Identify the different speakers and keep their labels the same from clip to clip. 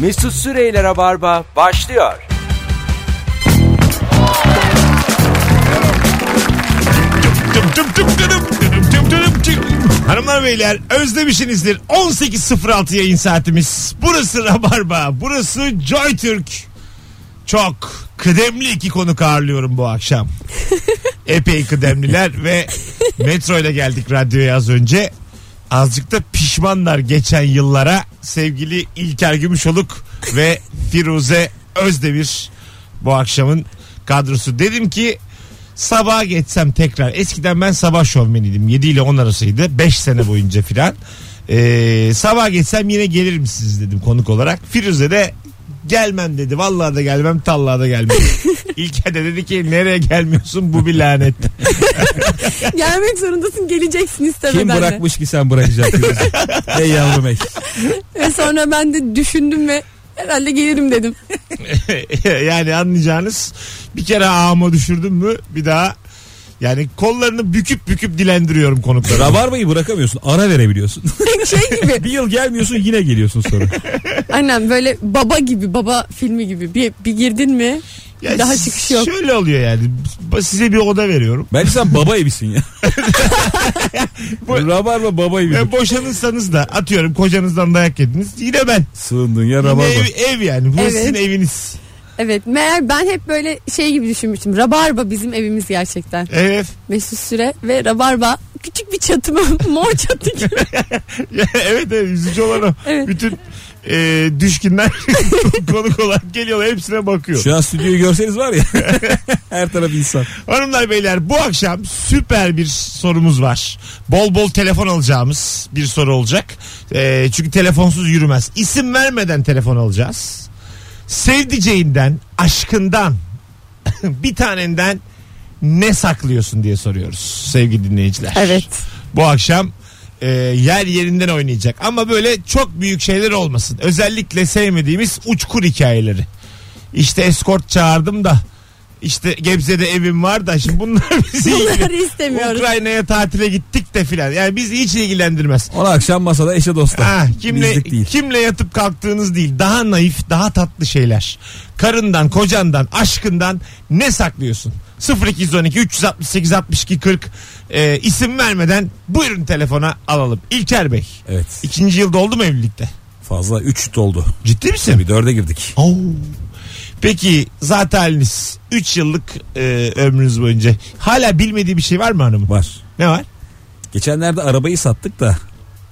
Speaker 1: Mesut Süreyler'e barba başlıyor.
Speaker 2: Tüm tüm tüm tüm tüm tüm tüm tüm. Hanımlar beyler özlemişsinizdir. 18.06 yayın saatimiz. Burası Rabarba. Burası Joy Türk. Çok kıdemli iki konuk ağırlıyorum bu akşam. Epey kıdemliler ve metro ile geldik radyoya az önce. Azıcık da pişmanlar geçen yıllara sevgili İlker Gümüşoluk ve Firuze Özdemir bu akşamın kadrosu. Dedim ki sabaha geçsem tekrar. Eskiden ben sabah şovmeniydim. 7 ile 10 arasıydı. 5 sene boyunca filan. Ee, sabah geçsem yine gelir misiniz dedim konuk olarak. Firuze de gelmem dedi. Vallahi da gelmem, tallahi da gelmem. İlker de dedi ki nereye gelmiyorsun bu bir lanet.
Speaker 3: Gelmek zorundasın geleceksin istemeden
Speaker 4: Kim
Speaker 3: de.
Speaker 4: bırakmış ki sen bırakacaksın? ey yavrum ey.
Speaker 3: Ve sonra ben de düşündüm ve herhalde gelirim dedim.
Speaker 2: yani anlayacağınız bir kere ağıma düşürdüm mü bir daha yani kollarını büküp büküp dilendiriyorum konukları.
Speaker 4: Rabarbayı bırakamıyorsun. Ara verebiliyorsun.
Speaker 3: şey gibi
Speaker 4: bir yıl gelmiyorsun yine geliyorsun sonra.
Speaker 3: annem böyle baba gibi baba filmi gibi bir, bir girdin mi
Speaker 2: Ya
Speaker 3: daha çıkış yok.
Speaker 2: Şöyle oluyor yani size bir oda veriyorum.
Speaker 4: Bence sen baba evisin ya. Rabarba baba evidir.
Speaker 2: Ve E, boşanırsanız da atıyorum kocanızdan dayak yediniz yine ben.
Speaker 4: Sığındığın ya
Speaker 2: Yine
Speaker 4: rabarba.
Speaker 2: ev, ev yani bu
Speaker 3: Evet.
Speaker 2: sizin eviniz.
Speaker 3: Evet meğer ben hep böyle şey gibi düşünmüştüm. Rabarba bizim evimiz gerçekten.
Speaker 2: Evet.
Speaker 3: Mesut Süre ve Rabarba küçük bir çatı mı? Mor çatı gibi.
Speaker 2: evet evet üzücü olan o.
Speaker 3: Evet.
Speaker 2: Bütün e, düşkünler konuk olarak geliyorlar hepsine bakıyor.
Speaker 4: Şu an stüdyoyu görseniz var ya. Her taraf insan.
Speaker 2: Hanımlar beyler bu akşam süper bir sorumuz var. Bol bol telefon alacağımız bir soru olacak. Ee, çünkü telefonsuz yürümez. İsim vermeden telefon alacağız. Sevdiceğinden, aşkından, bir tanenden ne saklıyorsun diye soruyoruz sevgili dinleyiciler.
Speaker 3: Evet.
Speaker 2: Bu akşam e, yer yerinden oynayacak ama böyle çok büyük şeyler olmasın. Özellikle sevmediğimiz uçkur hikayeleri. İşte eskort çağırdım da işte Gebze'de evim var da şimdi bunlar bizi
Speaker 3: Bunları
Speaker 2: ilgilen-
Speaker 3: istemiyoruz.
Speaker 2: Ukrayna'ya tatile gittik de filan. Yani bizi hiç ilgilendirmez.
Speaker 4: Ona akşam masada eşe dosta.
Speaker 2: Ha, Ah,
Speaker 3: Ah,
Speaker 2: kimle
Speaker 4: Bizlik değil.
Speaker 2: kimle yatıp kalktığınız değil. Daha naif, daha tatlı şeyler. Karından, kocandan, aşkından ne saklıyorsun? 0212 368 62 40 e, isim vermeden buyurun telefona alalım. İlker Bey.
Speaker 4: Evet.
Speaker 2: ikinci yılda oldu mu evlilikte?
Speaker 4: Fazla 3 doldu.
Speaker 2: Ciddi misin?
Speaker 4: Bir dörde girdik.
Speaker 2: Oo. Oh. Peki zaten haliniz 3 yıllık e, ömrünüz boyunca hala bilmediği bir şey var mı hanımın?
Speaker 4: Var.
Speaker 2: Ne var?
Speaker 4: Geçenlerde arabayı sattık da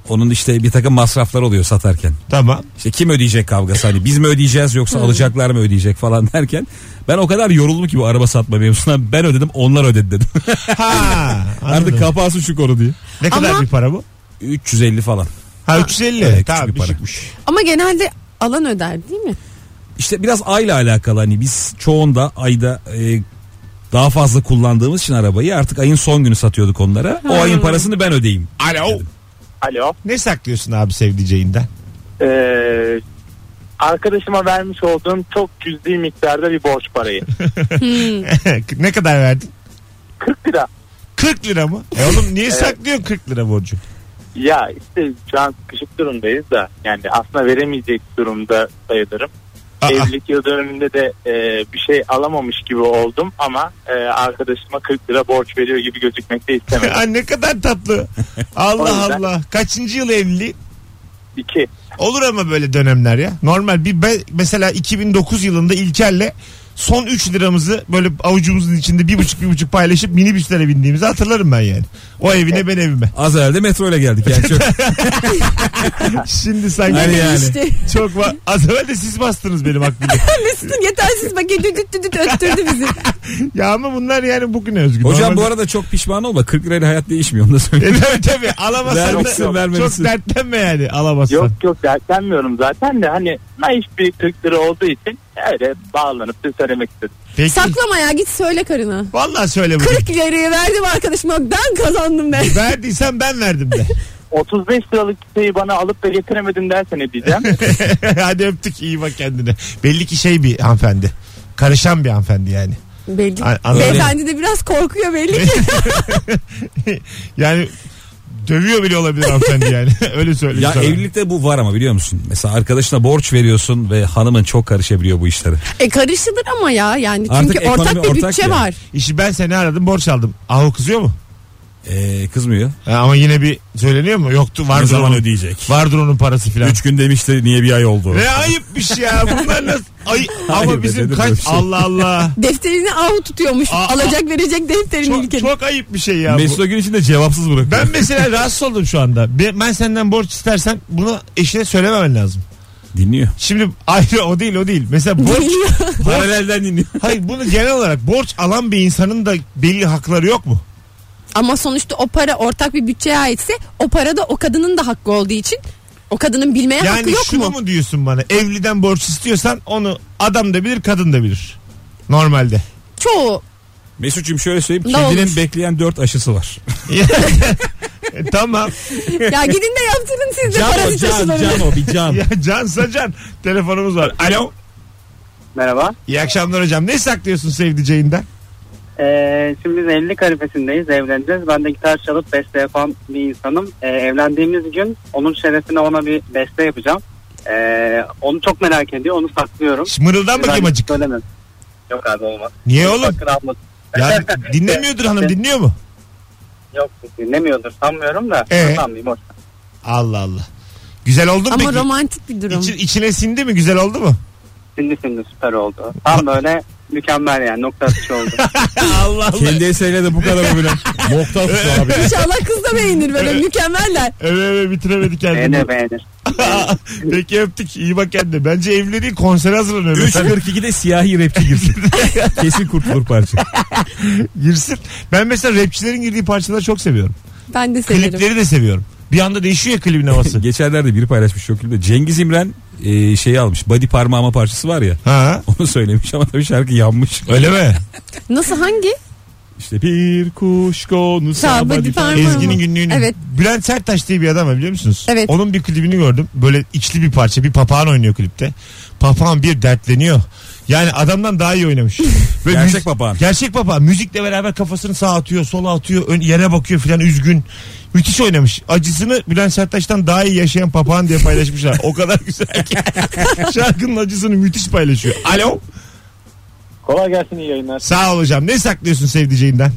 Speaker 4: onun işte bir takım masraflar oluyor satarken.
Speaker 2: Tamam.
Speaker 4: İşte kim ödeyecek kavgası hani biz mi ödeyeceğiz yoksa alacaklar mı ödeyecek falan derken ben o kadar yoruldum ki bu araba satma mevzusuna ben ödedim onlar ödedi dedim.
Speaker 2: Ha,
Speaker 4: Artık
Speaker 2: anladım.
Speaker 4: kapansın şu konu diye.
Speaker 2: ne kadar
Speaker 3: Ama-
Speaker 2: bir para bu?
Speaker 4: 350 falan.
Speaker 2: Ha 350.
Speaker 4: Evet, küçük
Speaker 2: tamam,
Speaker 4: bir para.
Speaker 2: düşükmüş.
Speaker 3: Ama genelde alan öder değil mi?
Speaker 4: İşte biraz ayla alakalı hani biz çoğunda ayda e, daha fazla kullandığımız için arabayı artık ayın son günü satıyorduk onlara. O ayın parasını ben ödeyeyim.
Speaker 2: Alo.
Speaker 5: Alo.
Speaker 2: Ne saklıyorsun abi sevdiceğinden?
Speaker 5: Ee, arkadaşıma vermiş olduğum çok cüzdi miktarda bir borç parayı.
Speaker 2: ne kadar verdin?
Speaker 5: 40 lira.
Speaker 2: 40 lira mı? E oğlum niye saklıyorsun 40 lira borcu?
Speaker 5: Ya işte şu an sıkışık durumdayız da yani aslında veremeyecek durumda sayılırım.
Speaker 2: Aa.
Speaker 5: Evlilik yıl dönümünde de e, bir şey alamamış gibi oldum ama e, arkadaşıma 40 lira borç veriyor gibi gözükmek de istemedim.
Speaker 2: Aa, ne kadar tatlı.
Speaker 5: O
Speaker 2: Allah
Speaker 5: yüzden-
Speaker 2: Allah. Kaçıncı yıl evliliği?
Speaker 5: İki.
Speaker 2: Olur ama böyle dönemler ya. Normal bir be- mesela 2009 yılında İlker'le son 3 liramızı böyle avucumuzun içinde bir buçuk bir buçuk paylaşıp minibüslere bindiğimizi hatırlarım ben yani. O evine ben evime.
Speaker 4: Az evvel de ile geldik. Yani çok,
Speaker 2: Şimdi sanki
Speaker 4: Hani yani.
Speaker 3: İşte
Speaker 2: çok var. Az evvel de siz bastınız benim aklımda.
Speaker 3: Mesut'un yetersiz paketi düt düt düt öttürdü bizi.
Speaker 2: ya ama bunlar yani bugüne özgü.
Speaker 4: hocam bu
Speaker 2: Normalde-
Speaker 4: arada çok pişman olma. 40 lirayla hayat değişmiyor onu da söyleyeyim.
Speaker 2: E tabii tabii alamazsan da
Speaker 4: Vermişsin, vermemişsin.
Speaker 2: çok dertlenme yani alamazsan.
Speaker 5: Yok yok dertlenmiyorum zaten de hani naif bir 40 lira olduğu için öyle bağlanıp da söylemek istedim.
Speaker 2: Peki.
Speaker 3: Saklama ya git söyle karına.
Speaker 2: Vallahi söyle bunu.
Speaker 3: 40 lirayı verdim arkadaşıma ben kazandım ben.
Speaker 2: Verdiysen ben verdim de.
Speaker 5: 35 liralık şeyi bana alıp da getiremedin dersen ne diyeceğim.
Speaker 2: Hadi öptük iyi bak kendine. Belli ki şey bir hanımefendi. Karışan bir hanımefendi yani.
Speaker 3: Belli.
Speaker 2: A- anladın mı?
Speaker 3: Beyefendi de biraz korkuyor belli ki.
Speaker 2: yani Dövüyor bile olabilir hanımefendi yani. Öyle söyleyeyim
Speaker 4: Ya
Speaker 2: sana.
Speaker 4: evlilikte bu var ama biliyor musun? Mesela arkadaşına borç veriyorsun ve hanımın çok karışabiliyor bu işlere.
Speaker 3: E karışılır ama ya yani
Speaker 4: Artık
Speaker 3: çünkü
Speaker 4: ekonomi
Speaker 3: ortak bir
Speaker 4: ortak
Speaker 3: bütçe
Speaker 4: ya.
Speaker 3: var.
Speaker 2: İşi ben seni aradım borç aldım. Ahu kızıyor mu?
Speaker 4: Ee, kızmıyor.
Speaker 2: Ha, ama yine bir söyleniyor mu? Yoktu vardır
Speaker 4: ne zaman
Speaker 2: onun,
Speaker 4: ödeyecek?
Speaker 2: vardır onun parası filan.
Speaker 4: Üç gün demişti niye bir ay oldu?
Speaker 2: Ne ayıpmış ya bunlar nasıl? Ay,
Speaker 4: Hayır
Speaker 2: ama
Speaker 4: be,
Speaker 2: bizim
Speaker 4: dedim
Speaker 2: kaç
Speaker 4: böyle şey.
Speaker 2: Allah Allah.
Speaker 3: Defterini ahu tutuyormuş.
Speaker 2: Aa,
Speaker 3: Alacak verecek defterini
Speaker 2: Çok,
Speaker 3: ülkenin.
Speaker 2: çok ayıp bir şey ya bu.
Speaker 4: Mesut o gün içinde cevapsız bırakıyor.
Speaker 2: Ben mesela rahatsız oldum şu anda. Ben, ben senden borç istersem bunu eşine söylememen lazım.
Speaker 4: Dinliyor.
Speaker 2: Şimdi ayrı o değil o değil. Mesela borç
Speaker 4: Paralelden dinliyor.
Speaker 2: hayır bunu genel olarak borç alan bir insanın da belli hakları yok mu?
Speaker 3: Ama sonuçta o para ortak bir bütçeye aitse o para da o kadının da hakkı olduğu için o kadının bilmeye hakkı
Speaker 2: Yani
Speaker 3: yok
Speaker 2: şunu
Speaker 3: mu?
Speaker 2: mu? diyorsun bana? Evliden borç istiyorsan onu adam da bilir, kadın da bilir. Normalde.
Speaker 3: Çoğu
Speaker 4: Mesut'cum şöyle söyleyeyim.
Speaker 3: Ne
Speaker 4: Kedinin
Speaker 3: olmuş?
Speaker 4: bekleyen dört aşısı var.
Speaker 2: E, tamam.
Speaker 3: ya gidin de yaptırın siz de
Speaker 4: Can o
Speaker 3: parası
Speaker 4: can,
Speaker 3: taşınabilir.
Speaker 4: can o bir can.
Speaker 2: Ya cansa can. Telefonumuz var. Alo.
Speaker 6: Merhaba.
Speaker 2: İyi akşamlar hocam. Ne saklıyorsun sevdiceğinden?
Speaker 6: Ee, şimdi biz 50 kalifesindeyiz. Evleneceğiz. Ben de gitar çalıp beste yapan bir insanım. Ee, evlendiğimiz gün onun şerefine ona bir beste yapacağım. Ee, onu çok merak ediyor. Onu saklıyorum. şey
Speaker 2: Şş, Mırıldan bakayım
Speaker 6: Ben
Speaker 2: acık.
Speaker 6: Söylemem. Yok abi olmaz.
Speaker 2: Niye oğlum?
Speaker 6: Sakın abla-
Speaker 2: Ya dinlemiyordur hanım dinliyor mu?
Speaker 6: Yok dinlemiyordur sanmıyorum da.
Speaker 2: Ee?
Speaker 6: Sanmayayım boş. ver.
Speaker 2: Allah Allah. Güzel oldu mu
Speaker 3: Ama
Speaker 2: peki?
Speaker 3: romantik bir durum.
Speaker 2: İçi- içine sindi mi? Güzel oldu mu?
Speaker 6: Şimdi şimdi süper oldu. Tam böyle mükemmel yani nokta atışı oldu.
Speaker 2: Allah Allah.
Speaker 4: Kendi eseriyle de bu kadar övülen. Nokta atışı abi.
Speaker 3: İnşallah kız da beğenir böyle mükemmeller.
Speaker 2: Öve öve bitiremedi kendini.
Speaker 6: beğenir beğenir.
Speaker 2: Peki öptük. İyi bak kendine. Bence evli değil konsere hazırlanıyor. Mesela
Speaker 4: 3.42'de siyahi rapçi girsin. Kesin kurtulur parça.
Speaker 2: girsin. Ben mesela rapçilerin girdiği parçaları çok seviyorum.
Speaker 3: Ben de severim.
Speaker 2: Klipleri de seviyorum. Bir anda değişiyor ya klibin havası.
Speaker 4: Geçenlerde biri paylaşmış çok iyi de Cengiz İmren e, şeyi almış. Body parmağıma parçası var ya.
Speaker 2: ha?
Speaker 4: Onu söylemiş ama tabii şarkı yanmış.
Speaker 2: Öyle mi?
Speaker 3: Nasıl hangi?
Speaker 4: İşte bir kuş konu
Speaker 3: Sağ body parmağıma.
Speaker 2: Ezgi'nin günlüğünü.
Speaker 3: Evet.
Speaker 2: Bülent Serttaş diye bir adam var biliyor musunuz?
Speaker 3: Evet.
Speaker 2: Onun bir klibini gördüm. Böyle içli bir parça. Bir papağan oynuyor klipte. Papağan bir dertleniyor. Yani adamdan daha iyi oynamış. Böyle
Speaker 4: Gerçek
Speaker 2: müzik-
Speaker 4: papağan.
Speaker 2: Gerçek papağan. Müzikle beraber kafasını sağa atıyor, sola atıyor, ön, yere bakıyor filan üzgün. Müthiş oynamış. Acısını Bülent Serttaş'tan daha iyi yaşayan papağan diye paylaşmışlar. o kadar güzel ki. Şarkının acısını müthiş paylaşıyor. Alo.
Speaker 7: Kolay gelsin iyi yayınlar.
Speaker 2: Sağ ol hocam. Ne saklıyorsun sevdiceğinden?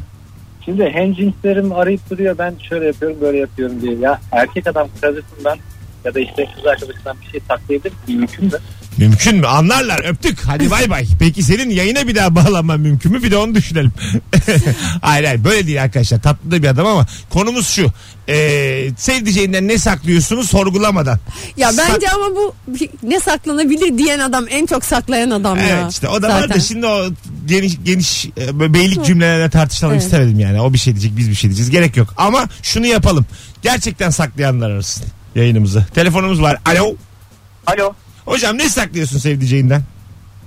Speaker 7: Şimdi henjinslerim arayıp duruyor ben şöyle yapıyorum böyle yapıyorum diye. Ya erkek adam karısından ya da işte kız arkadaşından bir şey saklayabilir mi? mümkün mü?
Speaker 2: Mümkün mü? Anlarlar. Öptük. Hadi bay bay. Peki senin yayına bir daha bağlanman mümkün mü? Bir de onu düşünelim. hayır hayır. Böyle değil arkadaşlar. Tatlı da bir adam ama konumuz şu. Ee, sevdiceğinden ne saklıyorsunuz sorgulamadan.
Speaker 3: Ya
Speaker 2: Sak-
Speaker 3: bence ama bu ne saklanabilir diyen adam en çok saklayan adam ya.
Speaker 2: Evet işte o da var da
Speaker 3: Zaten.
Speaker 2: şimdi o geniş geniş e, böyle beylik cümlelerle tartışalım
Speaker 3: Evet.
Speaker 2: istemedim yani. O bir şey diyecek biz bir şey diyeceğiz. Gerek yok. Ama şunu yapalım. Gerçekten saklayanlar arasın yayınımızı. Telefonumuz var. Alo.
Speaker 7: Alo
Speaker 2: Hocam ne saklıyorsun sevdiceğinden?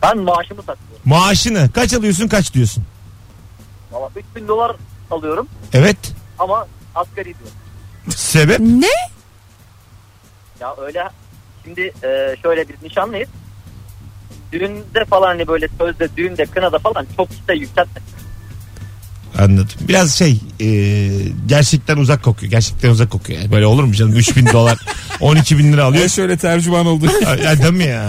Speaker 7: ben maaşımı saklıyorum.
Speaker 2: Maaşını. Kaç alıyorsun kaç diyorsun?
Speaker 7: Valla 3000 dolar alıyorum
Speaker 2: Evet.
Speaker 7: ama asgari diyor.
Speaker 2: Sebep?
Speaker 3: Ne?
Speaker 7: Ya öyle şimdi e, şöyle biz nişanlıyız. Düğünde falan hani böyle sözde düğünde kınada falan çok işte yükseltme.
Speaker 2: Anladım. Biraz şey e, gerçekten uzak kokuyor. Gerçekten uzak kokuyor. Yani böyle olur mu canım? 3000 dolar 12 bin lira
Speaker 4: Ya
Speaker 2: alıyor.
Speaker 4: şöyle tercüman oldu.
Speaker 2: Ay, ya değil mi ya?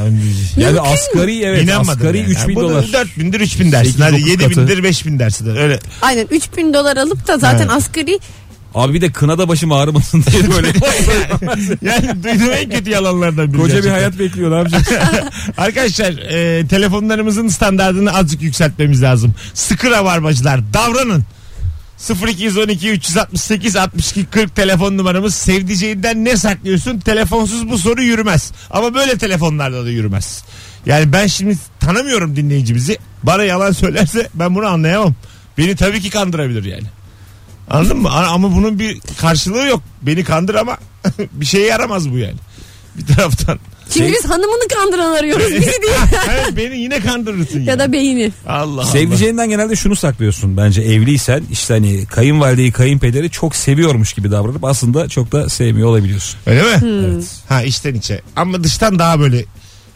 Speaker 4: yani asgari evet
Speaker 2: İnanmadım
Speaker 4: asgari
Speaker 2: yani.
Speaker 4: 3000
Speaker 2: Bunu
Speaker 4: dolar.
Speaker 2: 4000'dir 3000 dersin.
Speaker 4: Sekiz,
Speaker 2: Hadi
Speaker 4: dokuz
Speaker 2: 7000'dir 5000 dersin. Öyle.
Speaker 3: Aynen 3000 dolar alıp da zaten
Speaker 2: Evet.
Speaker 3: asgari
Speaker 4: Abi bir de kınada başım ağrımasın diye böyle
Speaker 2: Yani duyduğum en kötü yalanlardan biri.
Speaker 4: koca bir
Speaker 2: gerçekten.
Speaker 4: hayat bekliyor ne yapacak?
Speaker 2: Arkadaşlar e, telefonlarımızın standartını azıcık yükseltmemiz lazım. Sıkı rabarbacılar davranın. 0212 368 62 40 telefon numaramız. Sevdiceğinden ne saklıyorsun? Telefonsuz bu soru yürümez. Ama böyle telefonlarda da yürümez. Yani ben şimdi tanımıyorum dinleyicimizi. Bana yalan söylerse ben bunu anlayamam. Beni tabii ki kandırabilir yani. Anladın mı? A- Ama bunun bir karşılığı yok. Beni kandır ama bir şeye yaramaz bu yani. Bir taraftan.
Speaker 3: Çünkü biz hanımını kandıran arıyoruz bizi değil.
Speaker 2: Evet, beni yine kandırırsın ya.
Speaker 3: ya da beyni.
Speaker 2: Allah
Speaker 4: Sevdiceğinden genelde şunu saklıyorsun bence evliysen işte hani kayınvalideyi kayınpederi çok seviyormuş gibi davranıp aslında çok da sevmiyor olabiliyorsun.
Speaker 2: Allah. Öyle mi?
Speaker 3: Hmm.
Speaker 2: Ha içten içe. Ama dıştan daha böyle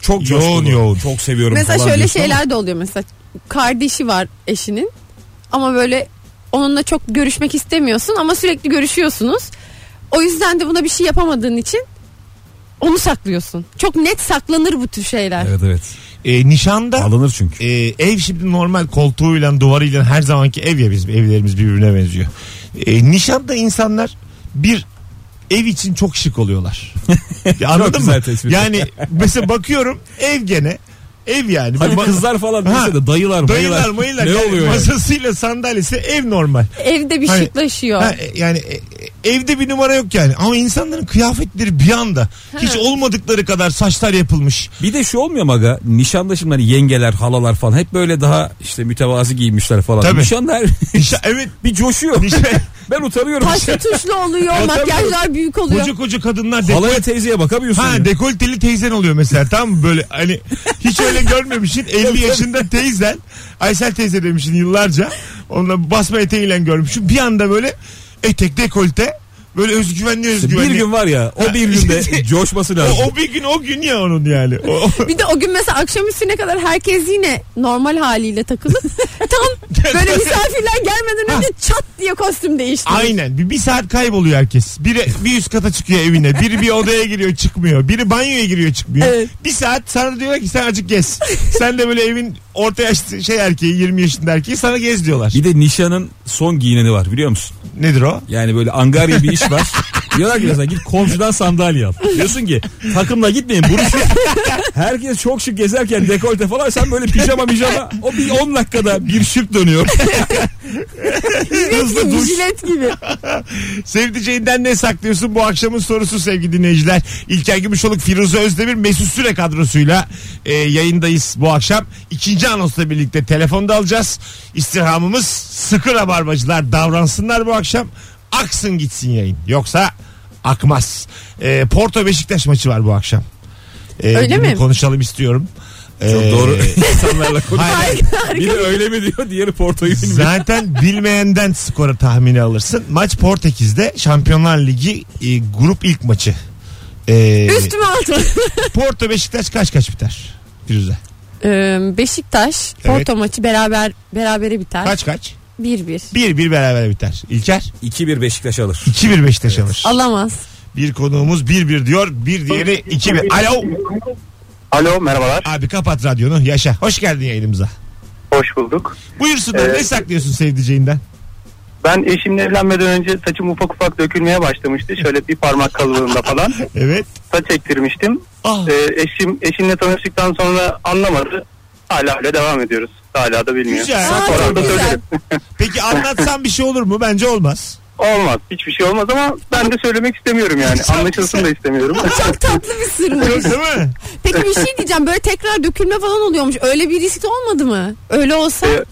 Speaker 4: Çok
Speaker 2: Yoğun,
Speaker 4: coşkulu,
Speaker 2: yoğun.
Speaker 4: Çok seviyorum
Speaker 3: Mesela
Speaker 4: falan
Speaker 3: şöyle
Speaker 4: diyorsun ama-
Speaker 3: şeyler de oluyor mesela. Kardeşi var eşinin ama böyle onunla çok görüşmek istemiyorsun ama sürekli görüşüyorsunuz. O yüzden de buna bir şey yapamadığın için onu saklıyorsun. Çok net saklanır bu tür şeyler.
Speaker 4: Evet evet.
Speaker 2: E, nişanda
Speaker 4: Alınır çünkü.
Speaker 2: e, ev şimdi normal koltuğuyla duvarıyla her zamanki ev ya bizim evlerimiz birbirine benziyor. E, nişanda insanlar bir ev için çok şık oluyorlar. Ya
Speaker 4: Çok
Speaker 2: anladın
Speaker 4: güzel
Speaker 2: mı?
Speaker 4: tespit.
Speaker 2: Yani mesela bakıyorum ev gene ev yani.
Speaker 4: Hani
Speaker 2: Bak-
Speaker 4: kızlar falan neyse de dayılar
Speaker 2: Dayılar
Speaker 4: mayılar.
Speaker 2: mayılar.
Speaker 4: Ne
Speaker 2: Yani
Speaker 4: oluyor yani?
Speaker 2: Masasıyla sandalyesi ev normal.
Speaker 3: Evde bir
Speaker 2: Hani-
Speaker 3: şıklaşıyor.
Speaker 2: Ha, e, yani e, e, evde bir numara yok yani. Ama insanların kıyafetleri bir anda hiç olmadıkları kadar saçlar yapılmış.
Speaker 4: Bir de şu olmuyor mu aga nişanda şimdi hani yengeler halalar falan hep böyle daha işte mütevazi giymişler falan.
Speaker 2: Tabii.
Speaker 4: Nişanda her-
Speaker 2: İşte evet.
Speaker 4: bir coşuyor.
Speaker 2: işte
Speaker 4: ben utanıyorum.
Speaker 3: Taşlı tuşlu oluyor,
Speaker 4: Tabii.
Speaker 3: makyajlar büyük oluyor.
Speaker 2: koca koca kadınlar deko-
Speaker 4: Halaya teyzeye bakamıyorsun. ya.
Speaker 2: ha dekolteli teyzen oluyor mesela tamam mı böyle hani hiç öyle görmemişsin 50 yaşında teyzen Aysel teyze demişsin yıllarca onunla basma eteğiyle görmüşsün bir anda böyle etek dekolte böyle özgüvenli
Speaker 4: İşte
Speaker 2: özgüvenli
Speaker 4: bir gün var ya o bir günde coşması lazım.
Speaker 2: şey- o, o bir gün o gün ya onun yani o, o-
Speaker 3: Bir de o gün mesela akşam üstüne kadar herkes yine normal haliyle takılıp tam böyle misafirler gelmeden önce çat diye kostüm değiştirir.
Speaker 2: Aynen. Bir, bir saat kayboluyor herkes. Biri bir üst kata çıkıyor evine. Biri bir odaya giriyor çıkmıyor. Biri banyoya giriyor çıkmıyor.
Speaker 3: Evet.
Speaker 2: Bir saat sana diyorlar ki sen acık gez. sen de böyle evin orta yaşlı şey erkeği 20 yaşında erkeği sana gez diyorlar.
Speaker 4: Bir de nişanın son giyineni var biliyor musun?
Speaker 2: Nedir o?
Speaker 4: Yani böyle angarya bir iş var. Diyorlar ki mesela git komşudan sandalye al. Diyorsun ki takımla gitmeyin burası. Herkes çok şık gezerken dekolte falan sen böyle pijama pijama o bir 10 dakikada bir şık dönüyor.
Speaker 3: Jilet
Speaker 4: Hızlı
Speaker 3: gibi,
Speaker 4: duş.
Speaker 3: jilet gibi.
Speaker 2: Sevdiceğinden ne saklıyorsun? Bu akşamın sorusu sevgili dinleyiciler. İlker Gümüşoluk, Firuze Özdemir, Mesut Süre kadrosuyla e, yayındayız bu akşam. İkinci anonsla birlikte telefonda alacağız. İstirhamımız sıkı rabarbacılar davransınlar bu akşam. Aksın gitsin yayın. Yoksa akmaz. E, Porto Beşiktaş maçı var bu akşam. E,
Speaker 3: Öyle
Speaker 2: bunu
Speaker 3: mi?
Speaker 2: Konuşalım istiyorum.
Speaker 4: Çok
Speaker 2: E,
Speaker 4: doğru insanlarla
Speaker 2: hayır,
Speaker 4: konuşuyor. Biri öyle mi diyor diğeri portoyu bilmiyor.
Speaker 2: Zaten bilmeyenden skoru tahmini alırsın. Maç Portekiz'de Şampiyonlar Ligi e, grup ilk maçı. E,
Speaker 3: Üstüme altı.
Speaker 2: Porto Beşiktaş kaç kaç biter? Firuze.
Speaker 3: Ee, Beşiktaş
Speaker 2: Evet.
Speaker 3: Porto maçı beraber berabere biter.
Speaker 2: Kaç kaç?
Speaker 3: 1-1.
Speaker 2: 1-1 beraber biter. İlker
Speaker 4: 2-1 Beşiktaş alır.
Speaker 2: 2-1 Beşiktaş alır.
Speaker 3: Alamaz.
Speaker 2: Bir konuğumuz 1-1 diyor. Bir diğeri 2-1. Alo.
Speaker 5: Alo merhabalar.
Speaker 2: Abi kapat radyonu. Yaşa. Hoş geldin yayınımıza.
Speaker 5: Hoş bulduk.
Speaker 2: Buyursunlar.
Speaker 5: Evet.
Speaker 2: Ne saklıyorsun sevdiceğinden?
Speaker 5: Ben eşimle evlenmeden önce saçım ufak ufak dökülmeye başlamıştı. Şöyle bir parmak kalınlığında falan.
Speaker 2: Evet.
Speaker 5: Saç ektirmiştim.
Speaker 2: Ah.
Speaker 5: Ee, eşim eşimle tanıştıktan sonra anlamadı. Hala öyle devam ediyoruz. Hala da bilmiyor.
Speaker 2: Güzel.
Speaker 3: Aa,
Speaker 5: Sonra
Speaker 3: çok
Speaker 5: da
Speaker 3: güzel.
Speaker 5: söylerim.
Speaker 2: Peki anlatsan bir şey olur mu? Bence olmaz.
Speaker 5: Olmaz. Hiçbir şey olmaz ama ben de söylemek istemiyorum yani. Anlaşılsın da istemiyorum.
Speaker 3: Çok tatlı bir sırmış.
Speaker 2: Değil mi?
Speaker 3: Peki bir şey diyeceğim böyle tekrar dökülme falan oluyormuş. Öyle bir risk de olmadı mı? Öyle olsa
Speaker 5: Ee,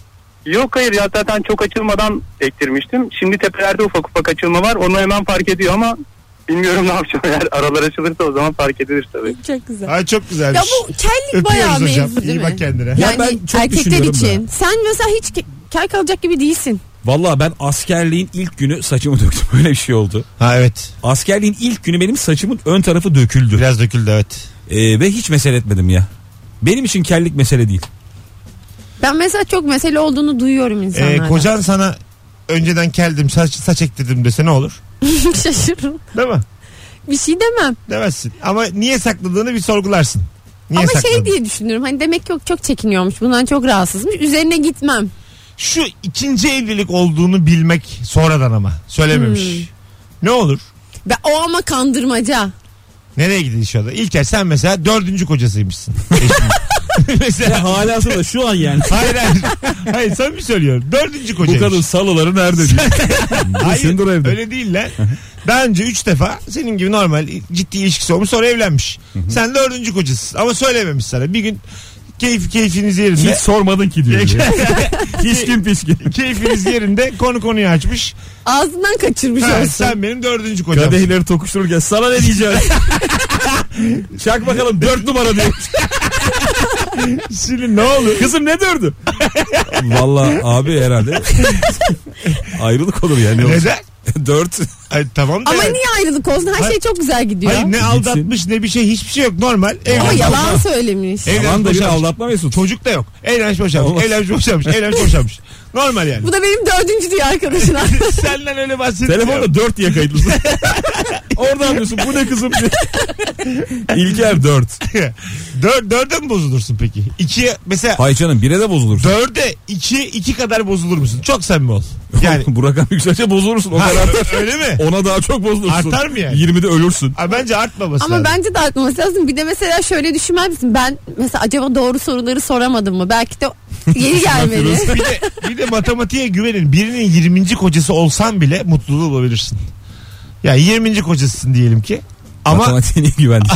Speaker 5: Yok hayır ya zaten çok açılmadan ektirmiştim. Şimdi tepelerde ufak ufak açılma var. Onu hemen fark ediyor ama bilmiyorum ne yapacağım. Eğer aralar açılırsa o zaman fark edilir tabii.
Speaker 3: çok güzel.
Speaker 2: Ay çok
Speaker 3: Ya
Speaker 2: güzelmiş.
Speaker 3: bu kellik bayağı
Speaker 2: Öpüyoruz hocam.
Speaker 3: mevzu değil
Speaker 2: İyi
Speaker 3: mi?
Speaker 2: bak kendine.
Speaker 4: Ya
Speaker 3: Yani
Speaker 4: ben çok
Speaker 3: erkekler
Speaker 4: düşünüyorum da.
Speaker 3: için. Sen mesela hiç ke- kel kalacak gibi değilsin.
Speaker 4: Valla ben askerliğin ilk günü saçımı döktüm. Öyle bir şey oldu.
Speaker 2: Ha evet.
Speaker 4: Askerliğin ilk günü benim saçımın ön tarafı döküldü.
Speaker 2: Biraz döküldü evet.
Speaker 4: Ee, ve hiç mesele etmedim ya. Benim için kellik mesele değil.
Speaker 3: Ben mesela çok mesele olduğunu duyuyorum
Speaker 2: Ee,
Speaker 3: insanlardan.
Speaker 2: kocan sana önceden keldim saç, saç ektirdim dese ne olur?
Speaker 3: Şaşırırım.
Speaker 2: Değil mi?
Speaker 3: Bir şey demem.
Speaker 2: Demezsin. Ama niye sakladığını bir sorgularsın. Niye
Speaker 3: Ama
Speaker 2: sakladın?
Speaker 3: şey diye düşünürüm. Hani demek ki yok çok çekiniyormuş. Bundan çok rahatsızmış. Üzerine gitmem.
Speaker 2: Şu ikinci evlilik olduğunu bilmek sonradan ama söylememiş.
Speaker 3: Hmm.
Speaker 2: Ne olur?
Speaker 3: Ve o ama kandırmaca.
Speaker 2: Nereye gidiş o da? İlker sen mesela dördüncü kocasıymışsın. Eşinin. mesela
Speaker 4: Halası da şu an yani.
Speaker 2: hayır hayır. Hayır sen mi söylüyorsun? Dördüncü
Speaker 4: Bu
Speaker 2: kocaymış.
Speaker 4: kadın salıları nerede diyor.
Speaker 2: Hayır
Speaker 4: Hayır, evde.
Speaker 2: öyle değil lan. Daha önce 3 defa senin gibi normal ciddi ilişkisi olmuş sonra evlenmiş. Sen dördüncü kocasısın ama söylememiş sana. Bir gün keyif keyfiniz yerinde.
Speaker 4: Hiç sormadın ki diyor. pişkin pişkin.
Speaker 2: keyfiniz yerinde konu konuyu açmış.
Speaker 3: Ağzından kaçırmış
Speaker 2: Ha,
Speaker 3: olsun.
Speaker 2: sen benim dördüncü kocam.
Speaker 4: Kadehleri tokuştururken sana ne diyeceğim? Çak bakalım dört numara diyor.
Speaker 2: Şimdi ne olur?
Speaker 4: Kızım ne dördü? Valla abi herhalde ayrılık olur yani.
Speaker 2: Neden?
Speaker 4: Dört.
Speaker 2: Ay, tamam da.
Speaker 3: Ama
Speaker 2: yani.
Speaker 3: niye ayrılık olsun? Her
Speaker 2: Hayır.
Speaker 3: şey çok güzel gidiyor.
Speaker 2: Hayır ne aldatmış ne bir şey hiçbir şey yok normal.
Speaker 3: Ama
Speaker 2: Evlenmiş.
Speaker 3: yalan söylemiş.
Speaker 2: Evlenmiş
Speaker 4: Yalan da bir
Speaker 2: boşanmış.
Speaker 4: aldatma Mesut.
Speaker 2: Çocuk da yok. Evlenmiş boşanmış.
Speaker 4: Olmaz.
Speaker 2: Evlenmiş boşanmış. Evlenmiş boşanmış. Normal yani.
Speaker 3: Bu da benim dördüncü diye arkadaşına.
Speaker 2: Senden öyle bahsediyorum.
Speaker 4: Telefonda 4 diye kayıtlısın. Oradan diyorsun bu ne kızım diye. İlker 4.
Speaker 2: Dör, dörde mi bozulursun peki? İkiye mesela
Speaker 4: Hay canım 1'e de bozulur.
Speaker 2: dörde iki, iki kadar bozulur musun? Çok samimi ol. Yani
Speaker 4: Yani. Bu rakam yükselse bozulursun. O
Speaker 2: Ha,
Speaker 4: kadar artar.
Speaker 2: öyle mi?
Speaker 4: Ona daha çok bozulursun.
Speaker 2: Artar mı yani?
Speaker 4: 20'de ölürsün.
Speaker 2: Ha, bence artmaması
Speaker 3: Ama
Speaker 2: lazım.
Speaker 3: bence de artmaması lazım. Bir de mesela şöyle düşünmez misin? Ben mesela acaba doğru soruları soramadım mı? Belki de yeni gelmedi.
Speaker 4: Firuze.
Speaker 2: Bir de, bir de matematiğe güvenin. Birinin 20. kocası olsan bile mutluluğu bulabilirsin. Ya 20. kocasısın diyelim ki. Ama
Speaker 4: Matematiğe niye güvendik?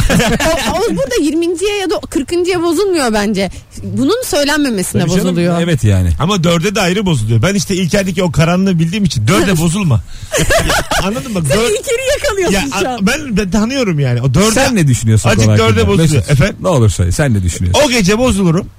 Speaker 3: o, o burada 20.ye ya da 40.ya bozulmuyor bence. Bunun söylenmemesine
Speaker 4: Tabii canım,
Speaker 3: bozuluyor.
Speaker 4: Evet yani.
Speaker 2: ama dörde de ayrı bozuluyor. Ben işte İlker'deki o karanlığı bildiğim için dörde bozulma. Anladın mı?
Speaker 3: Sen
Speaker 2: Dör-
Speaker 3: İlker'i yakalıyorsun
Speaker 2: ya,
Speaker 3: şu an.
Speaker 2: a- ben, ben tanıyorum yani. O dörde,
Speaker 4: Sen ne düşünüyorsun?
Speaker 2: Azıcık
Speaker 4: kolay
Speaker 2: dörde
Speaker 4: kolay?
Speaker 2: bozuluyor.
Speaker 4: Mesut,
Speaker 2: Efendim?
Speaker 4: Ne olur söyle sen ne düşünüyorsun?
Speaker 2: O gece bozulurum.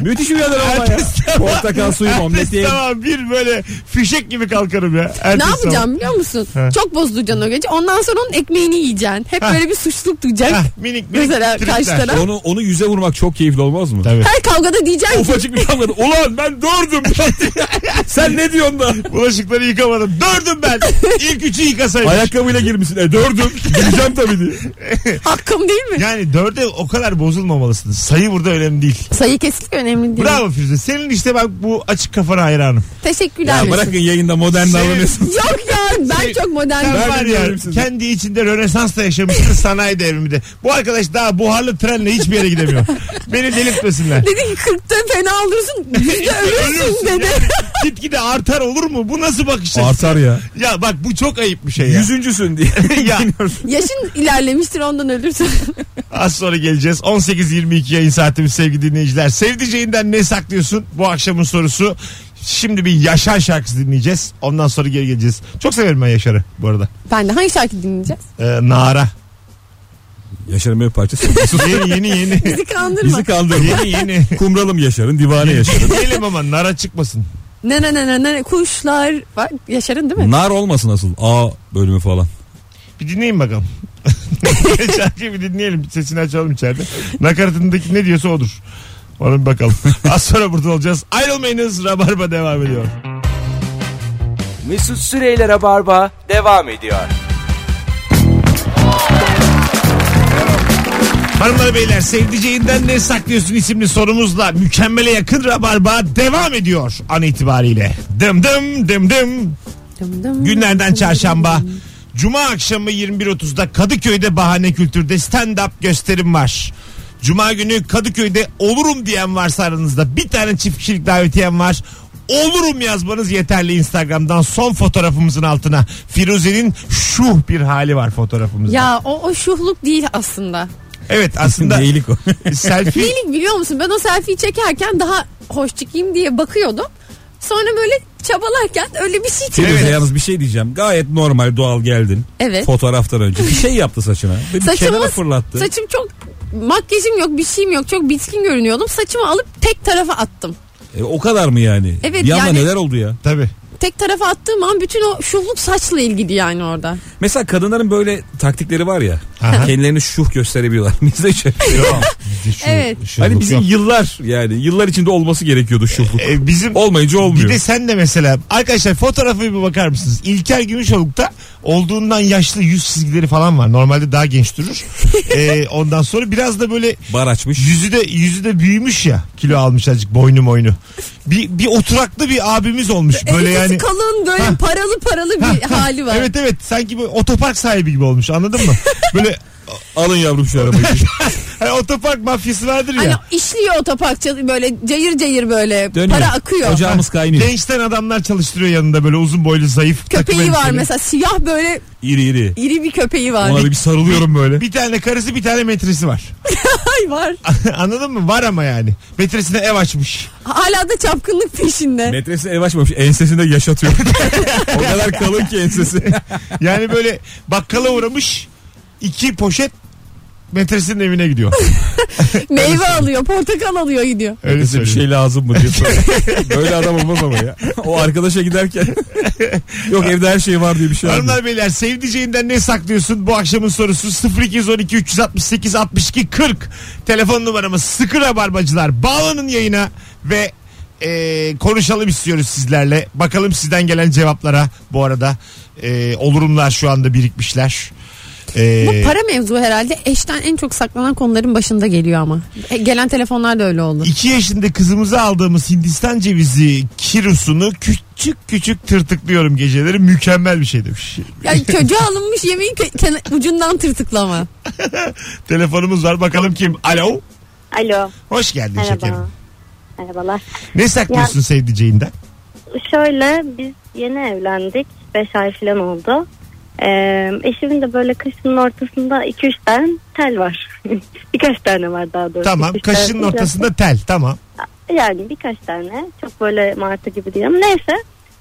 Speaker 4: Müthiş bir adam ama ya. Portakal suyu omlet
Speaker 2: Ertesi
Speaker 4: yiyelim.
Speaker 2: sabah bir böyle fişek gibi kalkarım ya.
Speaker 3: Ne
Speaker 2: Ertesi
Speaker 3: yapacağım biliyor musun?
Speaker 2: He.
Speaker 3: Çok bozulacaksın o gece. Ondan sonra onun ekmeğini yiyeceksin. Hep
Speaker 2: Ha.
Speaker 3: böyle bir suçluluk
Speaker 2: sabah.
Speaker 3: duyacak.
Speaker 2: Hah, minik minik
Speaker 3: Mesela
Speaker 2: tripler.
Speaker 3: karşı taraf.
Speaker 4: Onu, onu yüze vurmak çok keyifli olmaz mı?
Speaker 2: Tabii.
Speaker 3: Her kavgada diyeceksin ki
Speaker 4: Ufacık bir kavgada. Ulan ben dördüm. sen ne diyorsun da?
Speaker 2: Bulaşıkları yıkamadım. Dördüm ben. İlk üçü yıkasaydım.
Speaker 4: Ayakkabıyla girmişsin. E dördüm. Gireceğim tabii diye.
Speaker 3: hakkım değil mi?
Speaker 2: Yani dörde o kadar bozulmamalısınız. Sayı burada önemli değil.
Speaker 3: Sayı kesinlikle önemli değil.
Speaker 2: Bravo Firuze. Senin işte bak bu açık kafana hayranım.
Speaker 3: Teşekkürler.
Speaker 4: Ya
Speaker 3: Mesut.
Speaker 4: bırakın yayında modern davranıyorsun.
Speaker 3: Yok ya ben çok modern.
Speaker 2: Sen
Speaker 4: Ben
Speaker 2: var ya,
Speaker 4: biliyorum sizi.
Speaker 2: kendi içinde Rönesans'ta yaşamışsın sanayi devriminde. Bu arkadaş daha buharlı trenle hiçbir yere gidemiyor. Beni delirtmesinler.
Speaker 3: Dedi ki 40'ta fena olursun. Yüzde ölürsün dedi.
Speaker 2: yani. Gitgide artar olur mu? Bu nasıl bakış açısı?
Speaker 4: Artar ya.
Speaker 2: Ya bak bu çok ayıp bir şey ya.
Speaker 4: Yüzüncüsün diye.
Speaker 2: Ya.
Speaker 3: Yaşın ilerlemiştir ondan ölürsün.
Speaker 2: Az sonra geleceğiz. 18.22 yayın saatimiz sevgili dinleyiciler. Sevdiceğinden ne saklıyorsun? Bu akşamın sorusu. Şimdi bir Yaşar şarkısı dinleyeceğiz. Ondan sonra geri geleceğiz. Çok severim ben Yaşar'ı bu arada.
Speaker 3: ben de hangi şarkı dinleyeceğiz?
Speaker 2: Ee, Nara.
Speaker 4: Yaşar'ın bir parçası.
Speaker 2: Yeni yeni yeni.
Speaker 3: Bizi kandırma.
Speaker 4: Bizi kandırma.
Speaker 2: yeni yeni.
Speaker 4: Kumralım Yaşar'ın, divane Yaşar'ın.
Speaker 2: Diyelim ama Nara çıkmasın.
Speaker 3: Ne ne ne ne ne ne kuşlar var. Yaşar'ın değil mi?
Speaker 4: Nar olmasın asıl. A bölümü falan.
Speaker 2: Bir dinleyin bakalım. Şarkıyı bir dinleyelim. Sesini açalım içeride. Nakaratındaki ne diyorsa odur. Ona bir bakalım. Az sonra burada olacağız. Ayrılmayınız. Rabarba devam ediyor.
Speaker 1: Mesut Süreyler'e barba devam ediyor.
Speaker 2: Hanımlar beyler sevdiceğinden ne saklıyorsun isimli sorumuzla mükemmele yakın rabarba devam ediyor an itibariyle. Dım dım dım dım
Speaker 3: Dım dım.
Speaker 2: günlerden çarşamba. Cuma akşamı 21.30'da Kadıköy'de Bahane Kültür'de stand-up gösterim var. Cuma günü Kadıköy'de olurum diyen varsa aranızda bir tane çift kişilik davetiyem var. Olurum yazmanız yeterli Instagram'dan son fotoğrafımızın altına. Firuze'nin şuh bir hali var fotoğrafımızda.
Speaker 3: Ya o, o şuhluk değil aslında.
Speaker 2: Evet aslında
Speaker 4: Değilik o.
Speaker 2: selfie
Speaker 3: Neylik biliyor musun? Ben o selfie'yi çekerken daha hoş çıkayım diye bakıyordum. Sonra böyle çabalarken öyle bir şey çıktı.
Speaker 4: Firuze yalnız bir şey diyeceğim. Gayet normal doğal geldin.
Speaker 3: Evet.
Speaker 4: Fotoğraftan önce. Bir şey yaptı saçına. Bir
Speaker 3: Saçımız-
Speaker 4: kenara fırlattı.
Speaker 3: Saçım çok makyajım yok bir şeyim yok çok bitkin görünüyordum. Saçımı alıp tek tarafa attım.
Speaker 4: E, o kadar mı yani?
Speaker 3: Evet,
Speaker 4: bir anda
Speaker 3: yani-
Speaker 4: neler oldu ya?
Speaker 2: tabii.
Speaker 3: Tek tarafa attığım an bütün o şuhluk saçla ilgili yani orada.
Speaker 4: Mesela kadınların böyle taktikleri var ya.
Speaker 2: Aha.
Speaker 4: Kendilerini şuh gösterebiliyorlar. Bizde hiç.
Speaker 3: Evet.
Speaker 4: hani bizim yıllar yani yıllar içinde olması gerekiyordu şuhluk.
Speaker 2: E, bizim
Speaker 4: Olmayınca olmuyor.
Speaker 2: bir de sen de mesela arkadaşlar fotoğrafı bir bakar mısınız? İlker Gümüşoluk'ta olduğundan yaşlı yüz çizgileri falan var. Normalde daha genç durur. E, ondan sonra biraz da böyle
Speaker 4: Bar açmış.
Speaker 2: yüzü de yüzü de büyümüş ya. Kilo almış azıcık boynu boynu. Bir, bir oturaklı bir abimiz olmuş böyle
Speaker 3: Elbisesi
Speaker 2: yani.
Speaker 3: kalın böyle paralı paralı bir hali var.
Speaker 2: Evet evet sanki böyle otopark sahibi gibi olmuş anladın mı? Böyle
Speaker 4: Alın yavrum şu arabayı.
Speaker 2: hani otopark mafyası vardır ya.
Speaker 3: Hani işliyor otopark çal- böyle cayır cayır böyle
Speaker 4: Dönüyor.
Speaker 3: para akıyor.
Speaker 4: Ocağımız kaynıyor.
Speaker 2: Gençten adamlar çalıştırıyor yanında böyle uzun boylu zayıf. takım
Speaker 3: Köpeği var
Speaker 2: elbiseli.
Speaker 3: mesela siyah böyle
Speaker 4: İri iri.
Speaker 3: iri bir köpeği var.
Speaker 4: Ona da bir sarılıyorum böyle.
Speaker 2: Bir tane karısı bir tane metresi var.
Speaker 3: Ay var.
Speaker 2: Anladın mı? Var ama yani. Metresine ev açmış.
Speaker 3: Hala da çapkınlık peşinde.
Speaker 4: Metresi ev açmamış. Ensesinde yaşatıyor. o kadar kalın ki ensesi.
Speaker 2: Yani böyle bakkala uğramış. iki poşet metresinin evine gidiyor.
Speaker 3: Meyve alıyor, portakal alıyor gidiyor.
Speaker 2: Öyle
Speaker 4: Bize bir
Speaker 2: söyleyeyim.
Speaker 4: şey lazım mı diye soruyor. Böyle adam olmaz ama ya. O arkadaşa giderken yok evde her şey var diye bir şey var.
Speaker 2: Hanımlar beyler sevdiceğinden ne saklıyorsun? Bu akşamın sorusu 0212 368 62 40. Telefon numaramız sıkı rabarbacılar. Bağlanın yayına ve e, konuşalım istiyoruz sizlerle. Bakalım sizden gelen cevaplara bu arada. E, olurumlar şu anda birikmişler. E,
Speaker 3: Bu para mevzu herhalde eşten en çok saklanan konuların başında geliyor ama. E, gelen telefonlar da öyle oldu.
Speaker 2: 2 yaşında kızımıza aldığımız Hindistan cevizi kirusunu küçük küçük tırtıklıyorum geceleri. Mükemmel bir şey demiş.
Speaker 3: Yani çocuğa alınmış yemeğin ke- kena- ucundan tırtıklama.
Speaker 2: Telefonumuz var bakalım kim? Alo.
Speaker 8: Alo.
Speaker 2: Hoş geldin şekerim.
Speaker 8: Merhaba. Merhabalar.
Speaker 2: Ne saklıyorsun sevdiceğinden?
Speaker 8: Şöyle biz yeni evlendik. 5 ay falan oldu. Ee, eşimin de böyle kaşının ortasında 2-3 tane tel var. birkaç tane var daha doğrusu.
Speaker 2: Tamam.
Speaker 8: Üç
Speaker 2: Kaşının
Speaker 8: tane-
Speaker 2: ortasında tel. Tamam.
Speaker 8: Yani birkaç tane. Çok böyle martı gibi değilim. Neyse.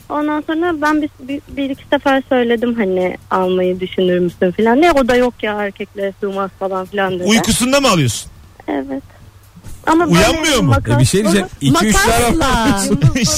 Speaker 8: Ondan sonra ben bir, bir, bir iki sefer söyledim hani almayı düşünür müsün filan. Ne o da yok ya erkeklere sığmaz falan filan dedi.
Speaker 2: Uykusunda mı alıyorsun?
Speaker 8: Evet. Ama böyle
Speaker 2: Uyanmıyor mu?
Speaker 8: makas-
Speaker 4: E bir şey diyeceğim. 2-3 tane
Speaker 3: Makasla.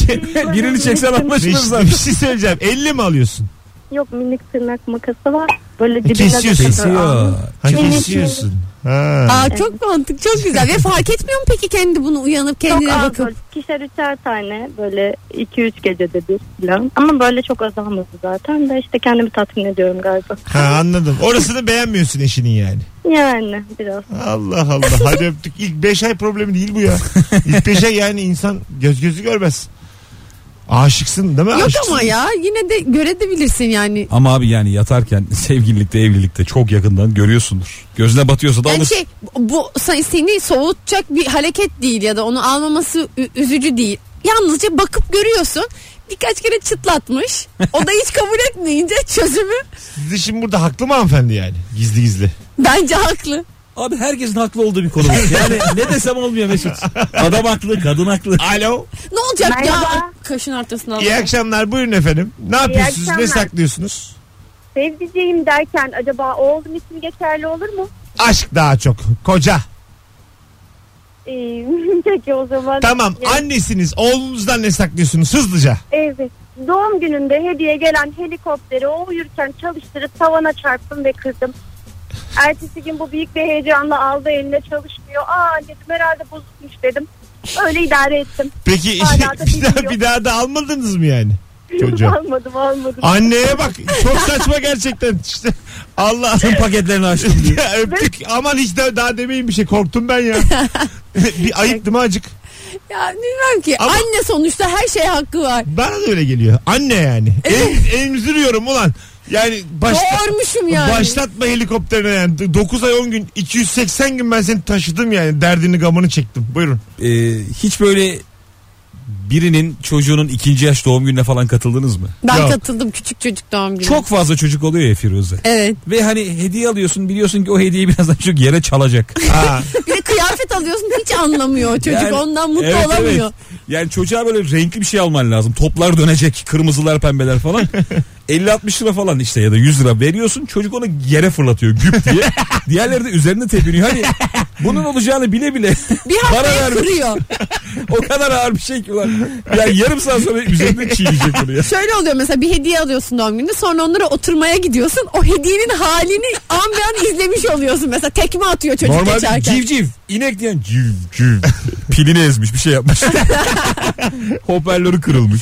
Speaker 8: Şey,
Speaker 4: birini çeksen
Speaker 2: Bir,
Speaker 4: anlaşılır
Speaker 2: bir
Speaker 4: zaten.
Speaker 2: şey söyleyeceğim. 50 mi alıyorsun?
Speaker 8: Yok minik tırnak makası var. Böyle dibine
Speaker 2: Kesiyorsun.
Speaker 8: de takıyor.
Speaker 4: Kesiyor.
Speaker 2: Hani
Speaker 8: Evet.
Speaker 2: istiyorsun. Ha.
Speaker 3: Aa, çok mantık çok güzel. Ve fark etmiyor mu peki kendi bunu uyanıp
Speaker 8: Çok
Speaker 3: kendine
Speaker 8: az
Speaker 3: bakıp?
Speaker 8: böyle ikişer üçer tane böyle iki üç gecede bir falan. Ama böyle çok az almadı zaten de işte kendimi tatmin ediyorum galiba.
Speaker 2: Ha anladım. Orasını beğenmiyorsun eşinin yani.
Speaker 8: Yani biraz.
Speaker 2: Allah Allah. Hadi öptük. İlk 5 ay problemi değil bu ya. İlk 5 ay yani insan göz gözü görmez. Aşıksın değil mi?
Speaker 3: Yok
Speaker 2: Aşıksın.
Speaker 3: ama ya yine de görebilirsin yani.
Speaker 4: Ama abi yani yatarken sevgililikte evlilikte çok yakından görüyorsundur. Gözüne batıyorsa da
Speaker 3: Yani
Speaker 4: alırsın.
Speaker 3: şey bu sen- seni soğutacak bir hareket değil ya da onu almaması ü- üzücü değil. Yalnızca bakıp görüyorsun. Birkaç kere çıtlatmış. O da hiç kabul etmeyince çözümü
Speaker 2: Siz de şimdi burada haklı mı hanımefendi yani? Gizli gizli.
Speaker 3: bence haklı.
Speaker 4: Abi herkesin haklı olduğu bir konu. bu. Yani ne desem olmuyor Mesut. Adam haklı, kadın haklı.
Speaker 2: Alo.
Speaker 3: Ne olacak ya
Speaker 8: Merhaba.
Speaker 3: kaşın ortasına
Speaker 2: İyi
Speaker 3: alalım.
Speaker 2: akşamlar. Buyurun efendim. Ne yapıyorsunuz? Ne
Speaker 9: akşamlar.
Speaker 2: saklıyorsunuz?
Speaker 9: Sevdiceğim derken acaba oğlum için geçerli olur mu?
Speaker 2: Aşk daha çok. Koca.
Speaker 9: Ee, peki o zaman.
Speaker 2: Tamam.
Speaker 9: Ya-
Speaker 2: Annesiniz. Oğlunuzdan ne saklıyorsunuz? Hızlıca.
Speaker 9: Evet. Doğum gününde hediye gelen helikopteri o uyurken çalıştırıp tavana çarptım ve kırdım. Ertesi gün bu büyük bir heyecanla aldı eline çalışmıyor. Aa dedim herhalde bozulmuş dedim. Öyle idare ettim.
Speaker 2: Peki
Speaker 9: Hala da
Speaker 2: bir, daha,
Speaker 9: bilmiyor.
Speaker 2: bir daha da almadınız mı yani? Çocuğa.
Speaker 9: almadım almadım.
Speaker 2: Anneye bak. Çok saçma gerçekten. İşte Allah
Speaker 4: Tüm paketlerini açtım diyor.
Speaker 2: Ya öptük. Aman hiç de- daha demeyin bir şey. Korktum ben ya. bir ayıp değil mi acık?
Speaker 3: Ya bilmem ki.
Speaker 2: Ama-
Speaker 3: Anne sonuçta her şeye hakkı var.
Speaker 2: Bana da öyle geliyor. Anne yani. Em, emziriyorum ulan. Yani başta,
Speaker 3: Doğurmuşum yani.
Speaker 2: başlatma helikopterine yani. 9 ay 10 gün 280 gün ben seni taşıdım yani. Derdini gamını çektim. Buyurun.
Speaker 4: Ee, hiç böyle birinin çocuğunun ikinci yaş doğum gününe falan katıldınız mı?
Speaker 3: Ben
Speaker 2: Yok.
Speaker 3: katıldım küçük çocuk doğum günü.
Speaker 4: Çok fazla çocuk oluyor ya Firuze.
Speaker 3: Evet.
Speaker 4: Ve hani hediye alıyorsun biliyorsun ki o hediyeyi birazdan çocuk yere çalacak.
Speaker 2: Ha,
Speaker 3: Bir de kıyafet alıyorsun hiç anlamıyor çocuk
Speaker 4: Yani-
Speaker 3: ondan mutlu
Speaker 4: Evet, evet.
Speaker 3: olamıyor.
Speaker 4: Yani çocuğa böyle renkli bir şey alman lazım. Toplar dönecek, kırmızılar, pembeler falan. 50-60 lira falan işte ya da 100 lira veriyorsun. Çocuk onu yere fırlatıyor güp diye. Diğerleri de üzerine tepiniyor. Hani bunun olacağını bile bile
Speaker 3: Bir
Speaker 4: para
Speaker 3: haftaya
Speaker 4: vermiş.
Speaker 3: kırıyor.
Speaker 4: O kadar ağır bir şey ki ulan. Yani yarım saat sonra üzerine çiğneyecek bunu ya.
Speaker 3: Şöyle oluyor mesela bir hediye alıyorsun doğum gününde sonra onlara oturmaya gidiyorsun. O hediyenin halini an be an izlemiş oluyorsun. Mesela tekme atıyor çocuk
Speaker 4: Normal
Speaker 3: geçerken.
Speaker 4: civciv. inek diyen civciv. Pilini ezmiş bir şey yapmış. Hoparlörü kırılmış.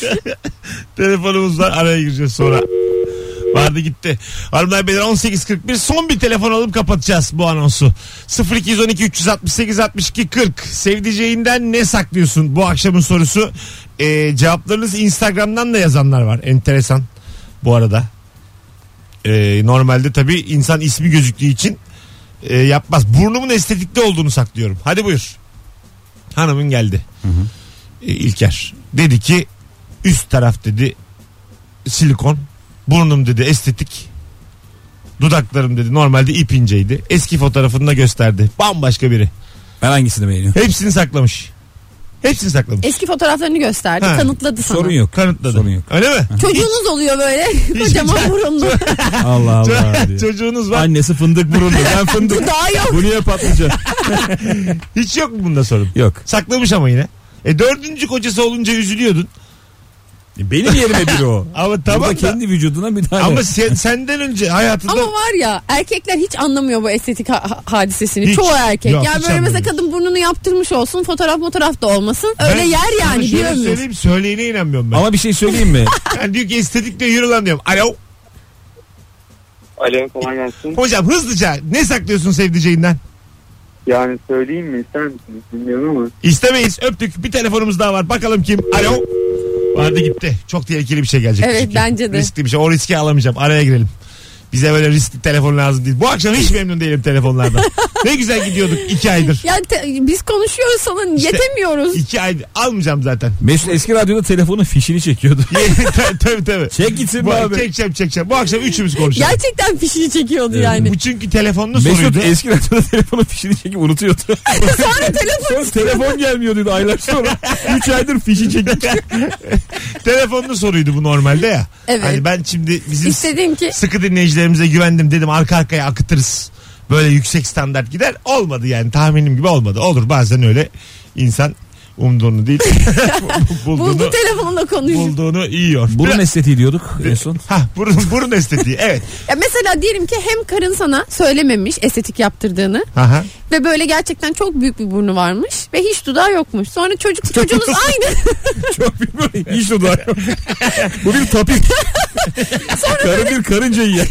Speaker 2: telefonumuz var. Araya gireceğiz sonra. Vardı gitti. Hanımlar beyler 18.41 son bir telefon alıp kapatacağız bu anonsu. 0212 368 62 40 sevdiceğinden ne saklıyorsun bu akşamın sorusu. Ee, cevaplarınız Instagram'dan da yazanlar var. Enteresan bu arada. Ee, normalde tabii insan ismi gözüktüğü için e, yapmaz. Burnumun estetikte olduğunu saklıyorum. Hadi buyur. Hanımın geldi. Ee, İlker. Dedi ki üst taraf dedi silikon. Burnum dedi estetik. Dudaklarım dedi normalde ip inceydi. Eski fotoğrafını da gösterdi. Bambaşka biri.
Speaker 4: Ben hangisini beğeniyorum?
Speaker 2: Hepsini saklamış. Hepsini saklamış.
Speaker 3: Eski fotoğraflarını gösterdi
Speaker 2: Ha.
Speaker 3: kanıtladı sana.
Speaker 4: Sorun yok.
Speaker 2: Kanıtladı.
Speaker 4: E, Sorun yok.
Speaker 2: Öyle mi?
Speaker 3: Çocuğunuz oluyor böyle kocaman burunlu.
Speaker 4: Allah Allah. diyor.
Speaker 2: Çocuğunuz var.
Speaker 4: Annesi fındık burunlu. Ben fındık.
Speaker 3: Daha yok.
Speaker 4: Bu niye patlıcan?
Speaker 2: Hiç yok mu bunda sorun?
Speaker 4: Yok.
Speaker 2: Saklamış ama yine. E dördüncü kocası olunca üzülüyordun.
Speaker 4: Benim yerime biri o.
Speaker 2: Ama tamam
Speaker 4: Burada
Speaker 2: da,
Speaker 4: kendi vücuduna bir tane.
Speaker 2: ama sen, senden önce hayatında
Speaker 3: Ama var ya erkekler hiç anlamıyor bu estetik ha- ha- hadisesini.
Speaker 2: Hiç.
Speaker 3: Çoğu erkek.
Speaker 2: Yok, hiç
Speaker 3: yani böyle mesela
Speaker 2: anlamıyor.
Speaker 3: kadın burnunu yaptırmış olsun fotoğraf fotoğraf da olmasın. Öyle
Speaker 2: Ben
Speaker 3: yer
Speaker 2: sana
Speaker 3: yani bir
Speaker 2: şöyle
Speaker 3: ömür.
Speaker 2: söyleyeyim söyleyene inanmıyorum ben.
Speaker 4: Ama bir şey söyleyeyim mi?
Speaker 2: Yani diyor ki estetikle yürü lan diyorum. Alo.
Speaker 5: Alo kolay gelsin.
Speaker 2: Hocam hızlıca ne saklıyorsun sevdiceğinden?
Speaker 5: Yani söyleyeyim mi ister misiniz bilmiyorum ama.
Speaker 2: İstemeyiz öptük. Bir telefonumuz daha var. Bakalım kim? Alo. Vardı gitti. Çok tehlikeli bir şey gelecek.
Speaker 3: Evet,
Speaker 2: çünkü.
Speaker 3: bence de.
Speaker 2: Riskli bir şey. O riski alamayacağım. Araya girelim. Bize böyle riskli telefon lazım değil. Bu akşam hiç memnun değilim telefonlardan. ne güzel gidiyorduk iki aydır.
Speaker 3: Yani te- biz konuşuyoruz sana yetemiyoruz.
Speaker 2: İki aydır. Almayacağım zaten.
Speaker 4: Mesut eski radyoda telefonun fişini çekiyordu.
Speaker 2: tabii tabii. tabii.
Speaker 4: Çek gitsin
Speaker 2: Bu,
Speaker 4: be abi.
Speaker 2: çekeceğim çekeceğim. Bu akşam üçümüz konuşacağız.
Speaker 3: Gerçekten fişini çekiyordu yani.
Speaker 2: Bu çünkü telefonlu
Speaker 4: Mesut
Speaker 2: soruydu.
Speaker 4: eski radyoda telefonun fişini çekip unutuyordu.
Speaker 3: Sonra telefon
Speaker 4: Sonra telefon gelmiyor dedi aylar sonra. 3 aydır fişi çekip.
Speaker 2: telefonlu soruydu bu normalde ya.
Speaker 3: Evet.
Speaker 2: Hani ben şimdi bizim
Speaker 3: istediğin ki
Speaker 2: sıkı dinleyicilerimize güvendim dedim arka arkaya akıtırız. Böyle yüksek standart gider. Olmadı yani tahminim gibi olmadı. Olur bazen öyle insan umduğunu değil bulduğunu,
Speaker 3: buldu telefonla konuşuyor.
Speaker 2: bulduğunu yiyor.
Speaker 4: Burun
Speaker 2: Biraz-
Speaker 4: estetiği diyorduk en son.
Speaker 2: Ha, burun, burun estetiği evet.
Speaker 3: Ya mesela diyelim ki hem karın sana söylememiş estetik yaptırdığını
Speaker 2: Aha.
Speaker 3: ve böyle gerçekten çok büyük bir burnu varmış ve hiç dudağı yokmuş. Sonra çocuk çocuğunuz aynı.
Speaker 4: Çok bilmiyorum. Hiç dudağı yok. Bu bir tapir. Karı bir karınca yiyen.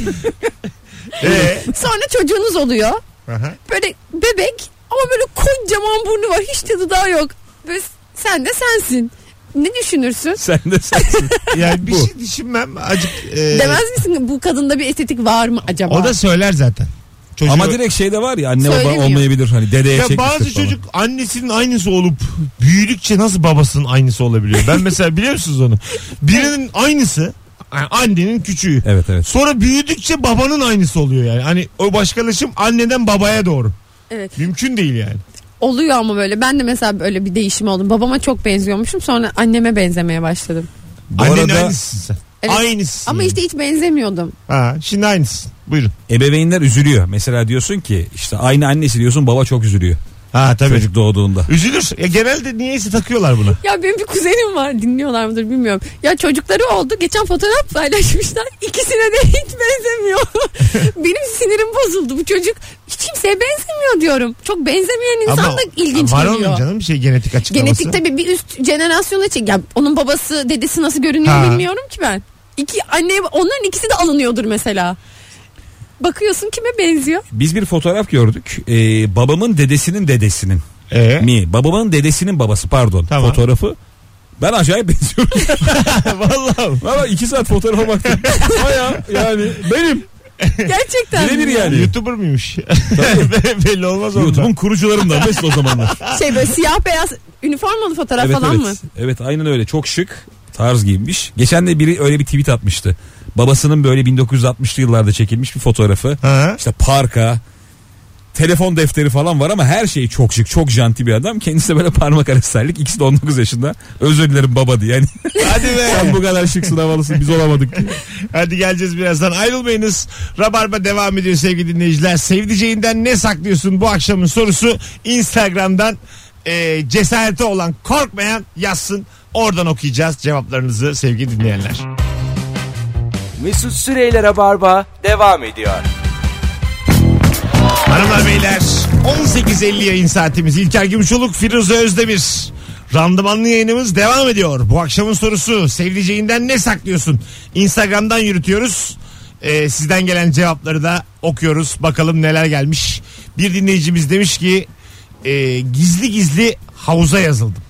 Speaker 2: Ee,
Speaker 3: Sonra çocuğunuz oluyor.
Speaker 2: aha.
Speaker 3: Böyle bebek ama böyle kocaman burnu var. Hiç de dudağı yok. Böyle sen de sensin. Ne düşünürsün?
Speaker 4: Sen de sensin.
Speaker 2: Yani bir
Speaker 4: Bu.
Speaker 2: şey düşünmem. Acık, e,
Speaker 3: Demez misin bu kadında bir estetik var mı acaba?
Speaker 2: o da söyler zaten. Çocuğu-
Speaker 4: Ama direkt şeyde var ya anne baba
Speaker 3: Söylemiyor.
Speaker 4: olmayabilir. Hani dedeye
Speaker 2: Ya
Speaker 4: çekmiştir
Speaker 2: bazı
Speaker 4: falan.
Speaker 2: çocuk annesinin aynısı olup büyüdükçe nasıl babasının aynısı olabiliyor? Ben mesela biliyor musunuz onu? Birinin aynısı yani annenin küçüğü.
Speaker 4: Evet evet.
Speaker 2: Sonra büyüdükçe babanın aynısı oluyor yani. Hani o başkalaşım anneden babaya doğru.
Speaker 3: Evet.
Speaker 2: Mümkün değil yani.
Speaker 3: Oluyor ama böyle. Ben de mesela böyle bir değişim oldum. Babama çok benziyormuşum. Sonra anneme benzemeye başladım.
Speaker 4: Bu
Speaker 2: Annenin
Speaker 4: arada
Speaker 2: aynısısın sen.
Speaker 3: Evet.
Speaker 2: Aynısısın.
Speaker 3: Ama
Speaker 2: yani.
Speaker 3: işte hiç benzemiyordum.
Speaker 2: Ha, şimdi aynısın. Buyurun.
Speaker 4: ebeveynler üzülüyor. Mesela diyorsun ki işte aynı annesi diyorsun baba çok üzülüyor.
Speaker 2: Ha tabii.
Speaker 4: Çocuk doğduğunda.
Speaker 2: Üzülür. Ya genelde niyeyse takıyorlar bunu.
Speaker 3: Ya benim bir kuzenim var dinliyorlar mıdır bilmiyorum. Ya çocukları oldu geçen fotoğraf paylaşmışlar. İkisine de hiç benzemiyor. benim sinirim bozuldu. Bu çocuk hiç kimseye benzemiyor diyorum. Çok benzemeyen insan da ilginç
Speaker 2: var onun
Speaker 3: geliyor.
Speaker 2: canım bir şey genetik açıklaması.
Speaker 3: Genetik tabii bir üst jenerasyona çek. Ya onun babası dedesi nasıl görünüyor
Speaker 2: Ha.
Speaker 3: bilmiyorum ki ben. İki anne onların ikisi de alınıyordur mesela. Bakıyorsun kime benziyor?
Speaker 4: Biz bir fotoğraf gördük. Ee, babamın dedesinin dedesinin.
Speaker 2: Ee?
Speaker 4: Mi? Babamın dedesinin babası pardon.
Speaker 2: Tamam.
Speaker 4: Fotoğrafı. Ben acayip benziyorum.
Speaker 2: Vallahi.
Speaker 4: Valla iki saat fotoğrafa baktım. Baya yani benim.
Speaker 3: Gerçekten.
Speaker 4: Birebir
Speaker 3: mi?
Speaker 4: yani.
Speaker 2: YouTuber muymuş? Belli olmaz ondan.
Speaker 4: YouTube'un kurucularından Mesut o zamanlar.
Speaker 3: Şey böyle siyah beyaz üniformalı fotoğraf
Speaker 4: evet,
Speaker 3: falan
Speaker 4: evet.
Speaker 3: mı?
Speaker 4: Evet aynen öyle çok şık tarz giyinmiş. Geçen de biri öyle bir tweet atmıştı. Babasının böyle 1960'lı yıllarda çekilmiş bir fotoğrafı.
Speaker 2: Ha?
Speaker 4: İşte parka, telefon defteri falan var ama her şey çok şık, çok janti bir adam. Kendisi de böyle parmak arası terlik. İkisi de 19 yaşında. Özür dilerim baba diye. Yani
Speaker 2: Hadi be.
Speaker 4: sen bu kadar şıksın havalısın biz olamadık. diye.
Speaker 2: Hadi geleceğiz birazdan. Ayrılmayınız. Rabarba devam ediyor sevgili dinleyiciler. Sevdiceğinden ne saklıyorsun bu akşamın sorusu Instagram'dan e, cesareti olan korkmayan yazsın. Oradan okuyacağız cevaplarınızı sevgili dinleyenler.
Speaker 1: Mesut Süreyler'e barba devam ediyor.
Speaker 2: Hanımlar beyler 18.50 yayın saatimiz. İlker Gümüşoluk, Firuze Özdemir. Randımanlı yayınımız devam ediyor. Bu akşamın sorusu sevdiceğinden ne saklıyorsun? Instagram'dan yürütüyoruz. Ee, sizden gelen cevapları da okuyoruz. Bakalım neler gelmiş. Bir dinleyicimiz demiş ki e, gizli gizli havuza yazıldım.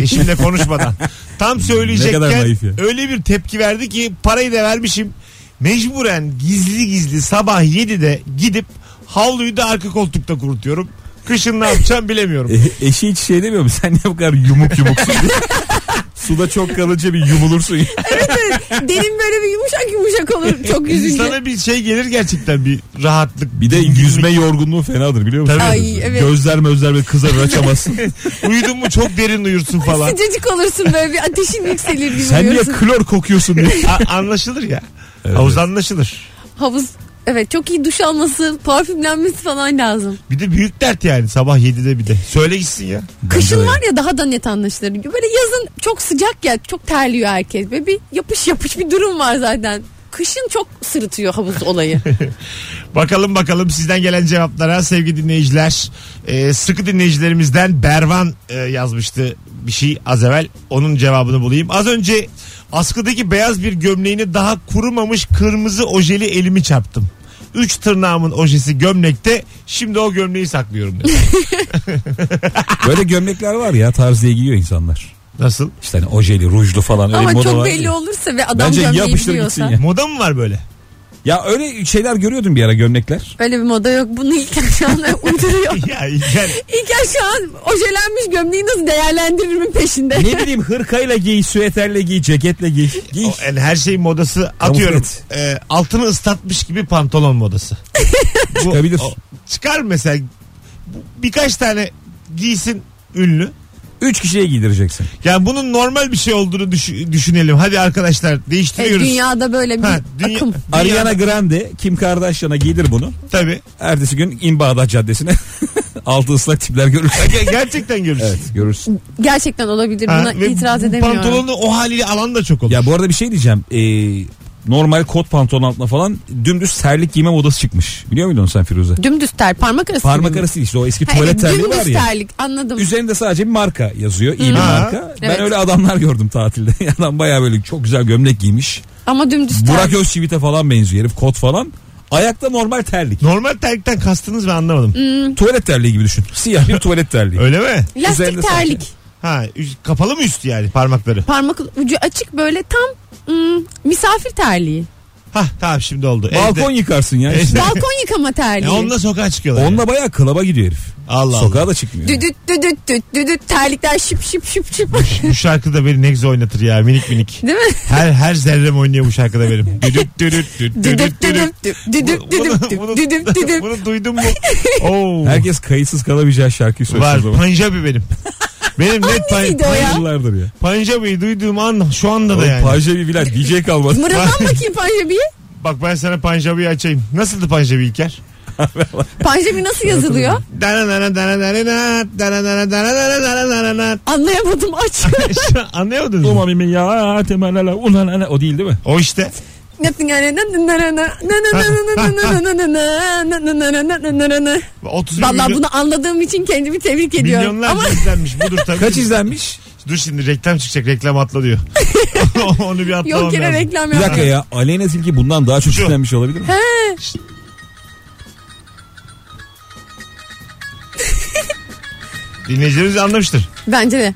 Speaker 2: Eşimle konuşmadan. Tam söyleyecekken
Speaker 4: naif ya.
Speaker 2: öyle bir tepki verdi ki parayı da vermişim. Mecburen gizli gizli sabah 7'de gidip havluyu da arka koltukta kurutuyorum. Kışın ne yapacağım bilemiyorum.
Speaker 4: E, eşi hiç şey demiyor mu? Sen niye bu kadar yumuk yumuksun diye. Suda çok kalınca bir yumulursun. ya.
Speaker 3: Evet, evet. Derin böyle bir yumuşak yumuşak olur çok yüzünce.
Speaker 2: Sana bir şey gelir gerçekten bir rahatlık.
Speaker 4: Bir de yüzme yorgunluğu fenadır biliyor musun?
Speaker 2: Tabii.
Speaker 3: Ay, evet.
Speaker 4: Gözler mözler böyle kızarır açamazsın.
Speaker 2: Uyudun mu çok derin uyursun falan.
Speaker 3: Sıcacık olursun böyle bir ateşin yükselir gibi
Speaker 4: Sen niye
Speaker 3: uyuyorsun.
Speaker 4: klor kokuyorsun diye.
Speaker 2: A- anlaşılır ya. Havuz anlaşılır.
Speaker 3: Havuz Evet çok iyi duş alması, parfümlenmesi falan lazım.
Speaker 2: Bir de büyük dert yani sabah 7'de bir de. Söyle gitsin ya.
Speaker 3: Kışın var ya daha da net anlaşılır. Böyle yazın çok sıcak ya çok terliyor herkes. Ve bir yapış yapış bir durum var zaten. Kışın çok sırıtıyor havuz olayı.
Speaker 2: Bakalım bakalım sizden gelen cevaplara sevgili dinleyiciler. Ee, sıkı dinleyicilerimizden Bervan e, yazmıştı bir şey az evvel. Onun cevabını bulayım. Az önce askıdaki beyaz bir gömleğini daha kurumamış kırmızı ojeli elimi çarptım. Üç tırnağımın ojesi gömlekte. Şimdi o gömleği saklıyorum. demiş.
Speaker 4: Böyle gömlekler var ya tarziye giyiyor insanlar.
Speaker 2: Nasıl?
Speaker 4: İşte hani ojeli, rujlu falan öyle
Speaker 3: Ama
Speaker 4: moda
Speaker 3: çok
Speaker 4: var
Speaker 3: belli
Speaker 4: ya.
Speaker 3: olursa ve adam
Speaker 4: Bence
Speaker 3: gömleği
Speaker 4: yapıştır
Speaker 3: biliyorsa.
Speaker 4: gitsin ya.
Speaker 2: Moda mı var böyle?
Speaker 4: Ya öyle şeyler görüyordum bir ara gömlekler.
Speaker 3: Öyle bir moda yok. Bunu İlker şu an uyduruyor.
Speaker 2: ya İlker,
Speaker 3: İlker şu an ojelenmiş gömleği nasıl değerlendiririm peşinde.
Speaker 4: ne bileyim hırkayla giy, süeterle giy, ceketle giy. Giy.
Speaker 2: o, e- yani her şeyin modası atıyorum.
Speaker 4: et.
Speaker 2: e, altını ıslatmış gibi pantolon modası. Bu-
Speaker 4: Çıkabilir.
Speaker 2: o- çıkar mesela bu- birkaç tane giysin ünlü.
Speaker 4: Üç kişiye giydireceksin.
Speaker 2: Yani bunun normal bir şey olduğunu düşü- düşünelim. Hadi arkadaşlar
Speaker 3: E,
Speaker 2: değiştiriyoruz.
Speaker 3: dünyada böyle bir
Speaker 2: Ha, dünya-
Speaker 3: akım.
Speaker 4: Ariana Grande, Kim Kardashian'a giydir bunu.
Speaker 2: Tabii.
Speaker 4: Ertesi gün İmbağdat Caddesi'ne altı ıslak tipler görürsün.
Speaker 2: Ger- E, Gerçekten görürsün.
Speaker 4: evet görürsün.
Speaker 3: Gerçekten olabilir.
Speaker 2: Ha,
Speaker 3: Buna
Speaker 2: ve
Speaker 3: itiraz
Speaker 2: bu
Speaker 3: edemiyorum.
Speaker 2: Pantolonu o haliyle alan da çok olur.
Speaker 4: Ya bu arada bir şey diyeceğim. Ee, normal kot pantolon altına falan dümdüz terlik giyme modası çıkmış. Biliyor muydun sen Firuze?
Speaker 3: Dümdüz ter, parmak arası.
Speaker 4: Parmak
Speaker 3: gibi mi?
Speaker 4: arası değil işte o eski
Speaker 3: Ha, evet,
Speaker 4: tuvalet terliği var
Speaker 3: dümdüz
Speaker 4: ya.
Speaker 3: terlik anladım.
Speaker 4: Üzerinde sadece bir marka yazıyor. iyi bir
Speaker 2: Hı.
Speaker 4: marka. Ben
Speaker 3: Evet.
Speaker 4: öyle adamlar gördüm tatilde. Adam baya böyle çok güzel gömlek giymiş.
Speaker 3: Ama dümdüz
Speaker 4: Burak
Speaker 3: terlik.
Speaker 4: Özçivit'e falan benziyor herif kot falan. Ayakta normal terlik.
Speaker 2: Normal terlikten kastınız ben anlamadım.
Speaker 3: Hmm.
Speaker 4: Tuvalet terliği gibi düşün. Siyah bir tuvalet terliği.
Speaker 2: Öyle mi?
Speaker 3: Lastik
Speaker 4: üzerinde
Speaker 3: terlik.
Speaker 2: Ha, üst- kapalı mı üstü yani parmakları?
Speaker 3: Parmak ucu açık böyle tam hmm, misafir terliği.
Speaker 2: Ha tamam şimdi oldu.
Speaker 4: Balkon
Speaker 2: Evde-
Speaker 4: yıkarsın ya.
Speaker 2: Evde-
Speaker 3: Balkon yıkama terliği.
Speaker 2: Ya onunla sokağa çıkıyorlar. yani.
Speaker 4: Onunla bayağı klaba gidiyor herif.
Speaker 2: Allah
Speaker 4: Sokağa da çıkmıyor.
Speaker 3: Düdüt düdüt düdüt düdüt terlikler şıp şıp şıp şıp.
Speaker 2: Bu şarkı da beni negze oynatır ya minik minik.
Speaker 3: Değil mi?
Speaker 2: Her her zerrem oynuyor bu şarkıda benim. Düdüt düdüt düdüt düdüt
Speaker 3: Düdüp
Speaker 2: düdüt.
Speaker 3: düdüp düdüp düdüp düdüp
Speaker 2: bunu,
Speaker 3: düdüp düdüp düdüp.
Speaker 2: bunu duydun mu? Oo.
Speaker 4: Herkes kayıtsız kalamayacağı şarkıyı söylüyor.
Speaker 2: var.
Speaker 4: o zaman.
Speaker 2: Panjabi benim. Benim net pan,
Speaker 3: Hangisiydi o ya?
Speaker 4: Yıllardır ya.
Speaker 2: Panjabi'yi duyduğum an şu anda da
Speaker 4: Oğlum
Speaker 2: yani.
Speaker 4: Panjabi bilen DJ kalmadı.
Speaker 3: Mırıldan bakayım Panjabi'yi.
Speaker 2: Bak ben sana Panjabi'yi açayım. Nasıldı Panjabi İlker?
Speaker 3: Panjabi nasıl yazılıyor?
Speaker 2: Dana dana dana dana dana dana dana dana dana dana dana dana.
Speaker 3: Anlayamadım aç.
Speaker 2: Şu an Anlayamadınız mı?
Speaker 4: Umamimin ya temelala ulanana o değil değil mi?
Speaker 2: O işte.
Speaker 3: Yaptın yani. Na na na na na na na na na na na na na na na na na na na na.
Speaker 2: 31
Speaker 3: Vallahi
Speaker 2: milyon,
Speaker 3: bunu anladığım için kendimi tebrik ediyorum.
Speaker 2: milyonlarca
Speaker 3: Ama
Speaker 2: izlenmiş. Budur tabii.
Speaker 4: Kaç izlenmiş?
Speaker 2: Dur şimdi reklam çıkacak. Reklam atla diyor. Onu bir atlamam
Speaker 3: yok yere
Speaker 2: lazım.
Speaker 3: reklam
Speaker 4: Bir dakika
Speaker 3: yapma.
Speaker 4: ya Aleyna Tilki bundan daha çok
Speaker 2: Şu.
Speaker 4: izlenmiş olabilir mi?
Speaker 2: Dinleyicilerimiz anlamıştır.
Speaker 3: Bence de.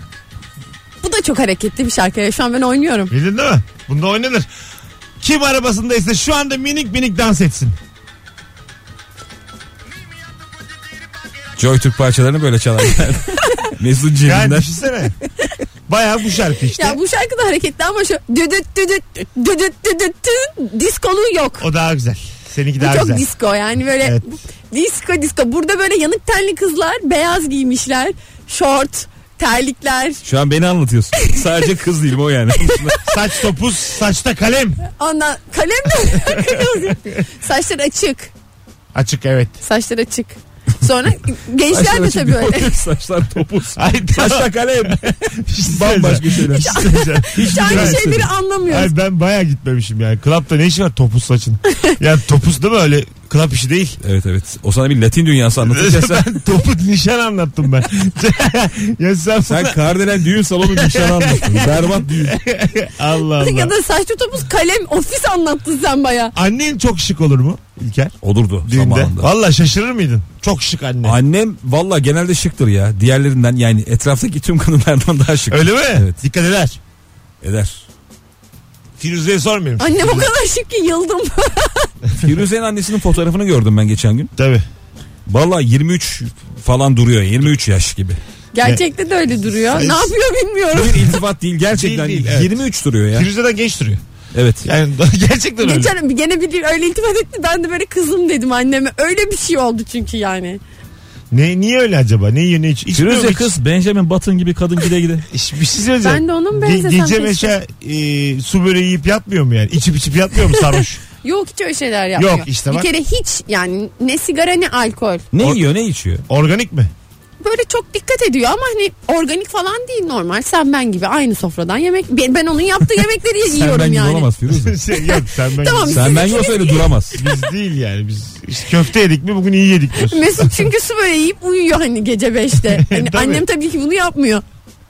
Speaker 3: Bu da çok hareketli bir şarkı. ya. Şu an ben oynuyorum.
Speaker 2: Bildin değil mi? Bunda oynanır. Kim arabasındaysa şu anda minik minik dans etsin.
Speaker 4: Joy Türk parçalarını böyle çalarlar. Mesut
Speaker 2: Yani
Speaker 4: cebinden.
Speaker 2: düşünsene. Bayağı bu şarkı işte.
Speaker 3: Ya bu şarkı da hareketli ama şu düdüt düdüt düdüt düdüt düdüt diskolu yok.
Speaker 2: O daha güzel. Seninki
Speaker 3: Bu
Speaker 2: daha
Speaker 3: çok
Speaker 2: güzel.
Speaker 3: disco yani böyle
Speaker 2: Evet.
Speaker 3: disco disco. Burada böyle yanık tenli kızlar beyaz giymişler. Şort, terlikler.
Speaker 4: Şu an beni anlatıyorsun. Sadece kız değilim o yani.
Speaker 2: Saç topuz, saçta kalem.
Speaker 3: Ondan kalem mi? Saçlar açık.
Speaker 2: Açık evet.
Speaker 3: Saçlar açık. Sonra gençler
Speaker 4: Saçlar
Speaker 3: de
Speaker 4: açık
Speaker 3: tabii öyle.
Speaker 4: diyor. Saçlar topuz.
Speaker 2: Ay,
Speaker 4: Saçlar kalem. şey Bambaşka şeyler.
Speaker 2: Hiç
Speaker 3: Aynı şeyleri anlamıyoruz.
Speaker 2: şey Ay ben bayağı gitmemişim yani. Klapta ne işi var topuz saçın? ya topuz değil mi öyle? Klap işi değil.
Speaker 4: Evet evet. O sana bir Latin dünyası anlatırken sen,
Speaker 2: ben topuz nişan anlattım ben. ya sen,
Speaker 4: sen kardelen düğün salonu nişanı anlattın. Berbat düğün.
Speaker 2: Allah Allah.
Speaker 3: ya da saçlı topuz kalem ofis anlattın sen baya.
Speaker 2: Annen çok şık olur mu İlker?
Speaker 4: Olurdu
Speaker 2: Düğünde.
Speaker 4: zamanında.
Speaker 2: Valla şaşırır mıydın? Çok şık anne.
Speaker 4: Annem valla genelde şıktır ya. Diğerlerinden yani etraftaki tüm kadınlardan daha şık.
Speaker 2: Öyle mi?
Speaker 4: Evet.
Speaker 2: Dikkat eder.
Speaker 4: Eder.
Speaker 2: Firuze'ye sormuyorum.
Speaker 3: Annem o kadar şık ki yıldım.
Speaker 4: Firuze'nin annesinin fotoğrafını gördüm ben geçen gün.
Speaker 2: Tabii.
Speaker 4: Valla 23 falan duruyor. 23 yaş gibi.
Speaker 3: Gerçekte de öyle duruyor.
Speaker 2: Saç-
Speaker 3: Ne yapıyor bilmiyorum.
Speaker 4: Bir iltifat değil gerçekten
Speaker 2: Değil,
Speaker 4: değil.
Speaker 2: değil, evet.
Speaker 4: 23 duruyor ya.
Speaker 2: Firuze'den genç duruyor.
Speaker 4: Evet.
Speaker 2: Yani gerçekten öyle.
Speaker 3: Geçen gene bir öyle iltifat etti. Ben de böyle kızım dedim anneme. Öyle bir şey oldu çünkü yani.
Speaker 2: Ne, niye öyle acaba? Ne yiyor ne iç? İçmiyor mu
Speaker 4: Firuze
Speaker 2: hiç?
Speaker 4: kız Benjamin Button gibi kadın gide gide.
Speaker 2: İş- Bir şey söyleyeceğim.
Speaker 3: Ben de onun
Speaker 2: Ge-
Speaker 3: benzesem
Speaker 2: Gece
Speaker 3: keşke.
Speaker 2: mesela e, su böreği yiyip yatmıyor mu yani? İçip içip yatmıyor mu sarhoş?
Speaker 3: Yok hiç öyle şeyler yapmıyor.
Speaker 2: Yok, işte bak.
Speaker 3: Bir kere hiç yani ne sigara ne alkol.
Speaker 4: Ne
Speaker 2: O-
Speaker 4: yiyor ne içiyor?
Speaker 2: Organik mi?
Speaker 3: Böyle çok dikkat ediyor ama hani organik falan değil normal. Sen ben gibi aynı sofradan yemek. Ben, ben onun yaptığı yemekleri
Speaker 4: Sen ben
Speaker 3: yiyorum
Speaker 4: gibi
Speaker 3: yani.
Speaker 4: olamaz Firuze.
Speaker 2: şey, yok sen ben
Speaker 3: Tamam.
Speaker 4: Sen ben yoksa öyle duramaz.
Speaker 2: Biz değil yani biz işte köfte yedik mi bugün iyi yedik diyorsun.
Speaker 3: Mesut çünkü su böyle yiyip uyuyor hani gece 5'te. Hani
Speaker 2: Tabii.
Speaker 3: annem tabii ki bunu yapmıyor.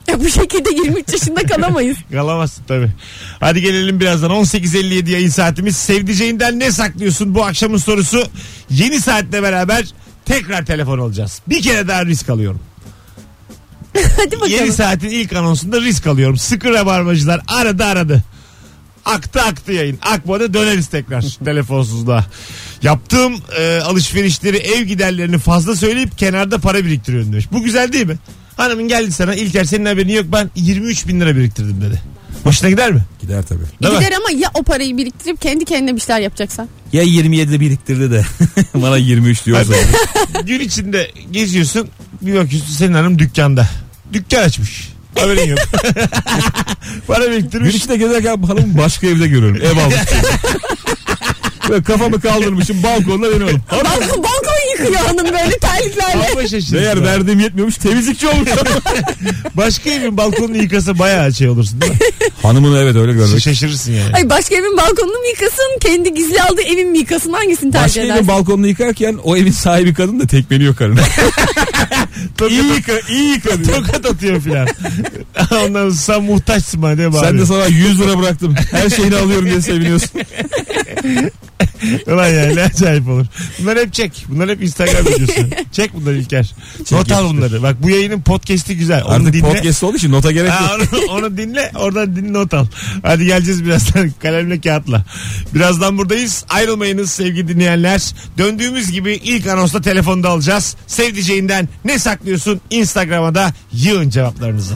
Speaker 3: Ya bu şekilde 23 yaşında kalamayız.
Speaker 2: Kalamazsın tabii. Hadi gelelim birazdan 18.57 yayın saatimiz. Sevdiceğinden ne saklıyorsun bu akşamın sorusu. Yeni saatle beraber tekrar telefon alacağız. Bir kere daha risk alıyorum.
Speaker 3: Hadi bakalım.
Speaker 2: Yeni saatin ilk anonsunda risk alıyorum. Sıkı rabarbacılar aradı aradı. Aktı aktı yayın. Akmadı döneriz tekrar telefonsuzluğa. Yaptığım e, alışverişleri ev giderlerini fazla söyleyip kenarda para biriktiriyorum demiş. Bu güzel değil mi? Hanımın geldi sana İlker senin haberin yok ben 23 bin lira biriktirdim dedi. Hoşuna gider mi?
Speaker 4: Gider tabii.
Speaker 2: Değil mi?
Speaker 3: Gider ama ya o parayı biriktirip kendi kendine bir şeyler yapacaksan.
Speaker 4: Ya 27'de biriktirdi de bana 23 diyorsa.
Speaker 2: Gün içinde geziyorsun bir bakıyorsun senin hanım dükkanda. Dükkan açmış. Haberin yok. para
Speaker 4: Gün
Speaker 2: biriktirmiş.
Speaker 4: içinde gezerken hanımı başka evde görüyorum. Ev almış. Böyle kafamı kaldırmışım balkonda benim hanım.
Speaker 3: Balkon, balkon yıkıyor hanım böyle terliklerle.
Speaker 2: Ama şaşırdı.
Speaker 4: Değer verdiğim yetmiyormuş temizlikçi olmuş.
Speaker 2: Başka evin balkonunu yıkasa bayağı şey olursun değil mi?
Speaker 4: Hanımını evet öyle görmek.
Speaker 2: Şaşırırsın yani.
Speaker 3: Ay başka evin balkonunu mu yıkasın? Kendi gizli aldığı evin mi yıkasın? Hangisini tercih
Speaker 4: Başka
Speaker 3: edersin?
Speaker 4: evin balkonunu yıkarken o evin sahibi kadın da tekmeliyor karını. iyi yıka, iyi yıka diyor.
Speaker 2: Tokat atıyor filan. Ondan sonra sen muhtaçsın bana diye
Speaker 4: Sen de
Speaker 2: bağırıyor.
Speaker 4: sana 100 lira bıraktım. Her şeyini alıyorum diye seviniyorsun.
Speaker 2: Ulan yani ne acayip olur. Bunlar hep çek. Bunlar hep Instagram videosu. çek bunları İlker. Not al
Speaker 4: yapıştır.
Speaker 2: bunları. Bak bu yayının podcast'i güzel. Onu
Speaker 4: Artık
Speaker 2: dinle.
Speaker 4: podcast olduğu için nota gerek
Speaker 2: Ha,
Speaker 4: yok.
Speaker 2: onu, onu dinle oradan dinle not al. Hadi geleceğiz birazdan kalemle kağıtla. Birazdan buradayız. Ayrılmayınız sevgili dinleyenler. Döndüğümüz gibi ilk anonsla telefonda alacağız. Sevdiceğinden ne saklıyorsun? Instagram'a da yığın cevaplarınızı.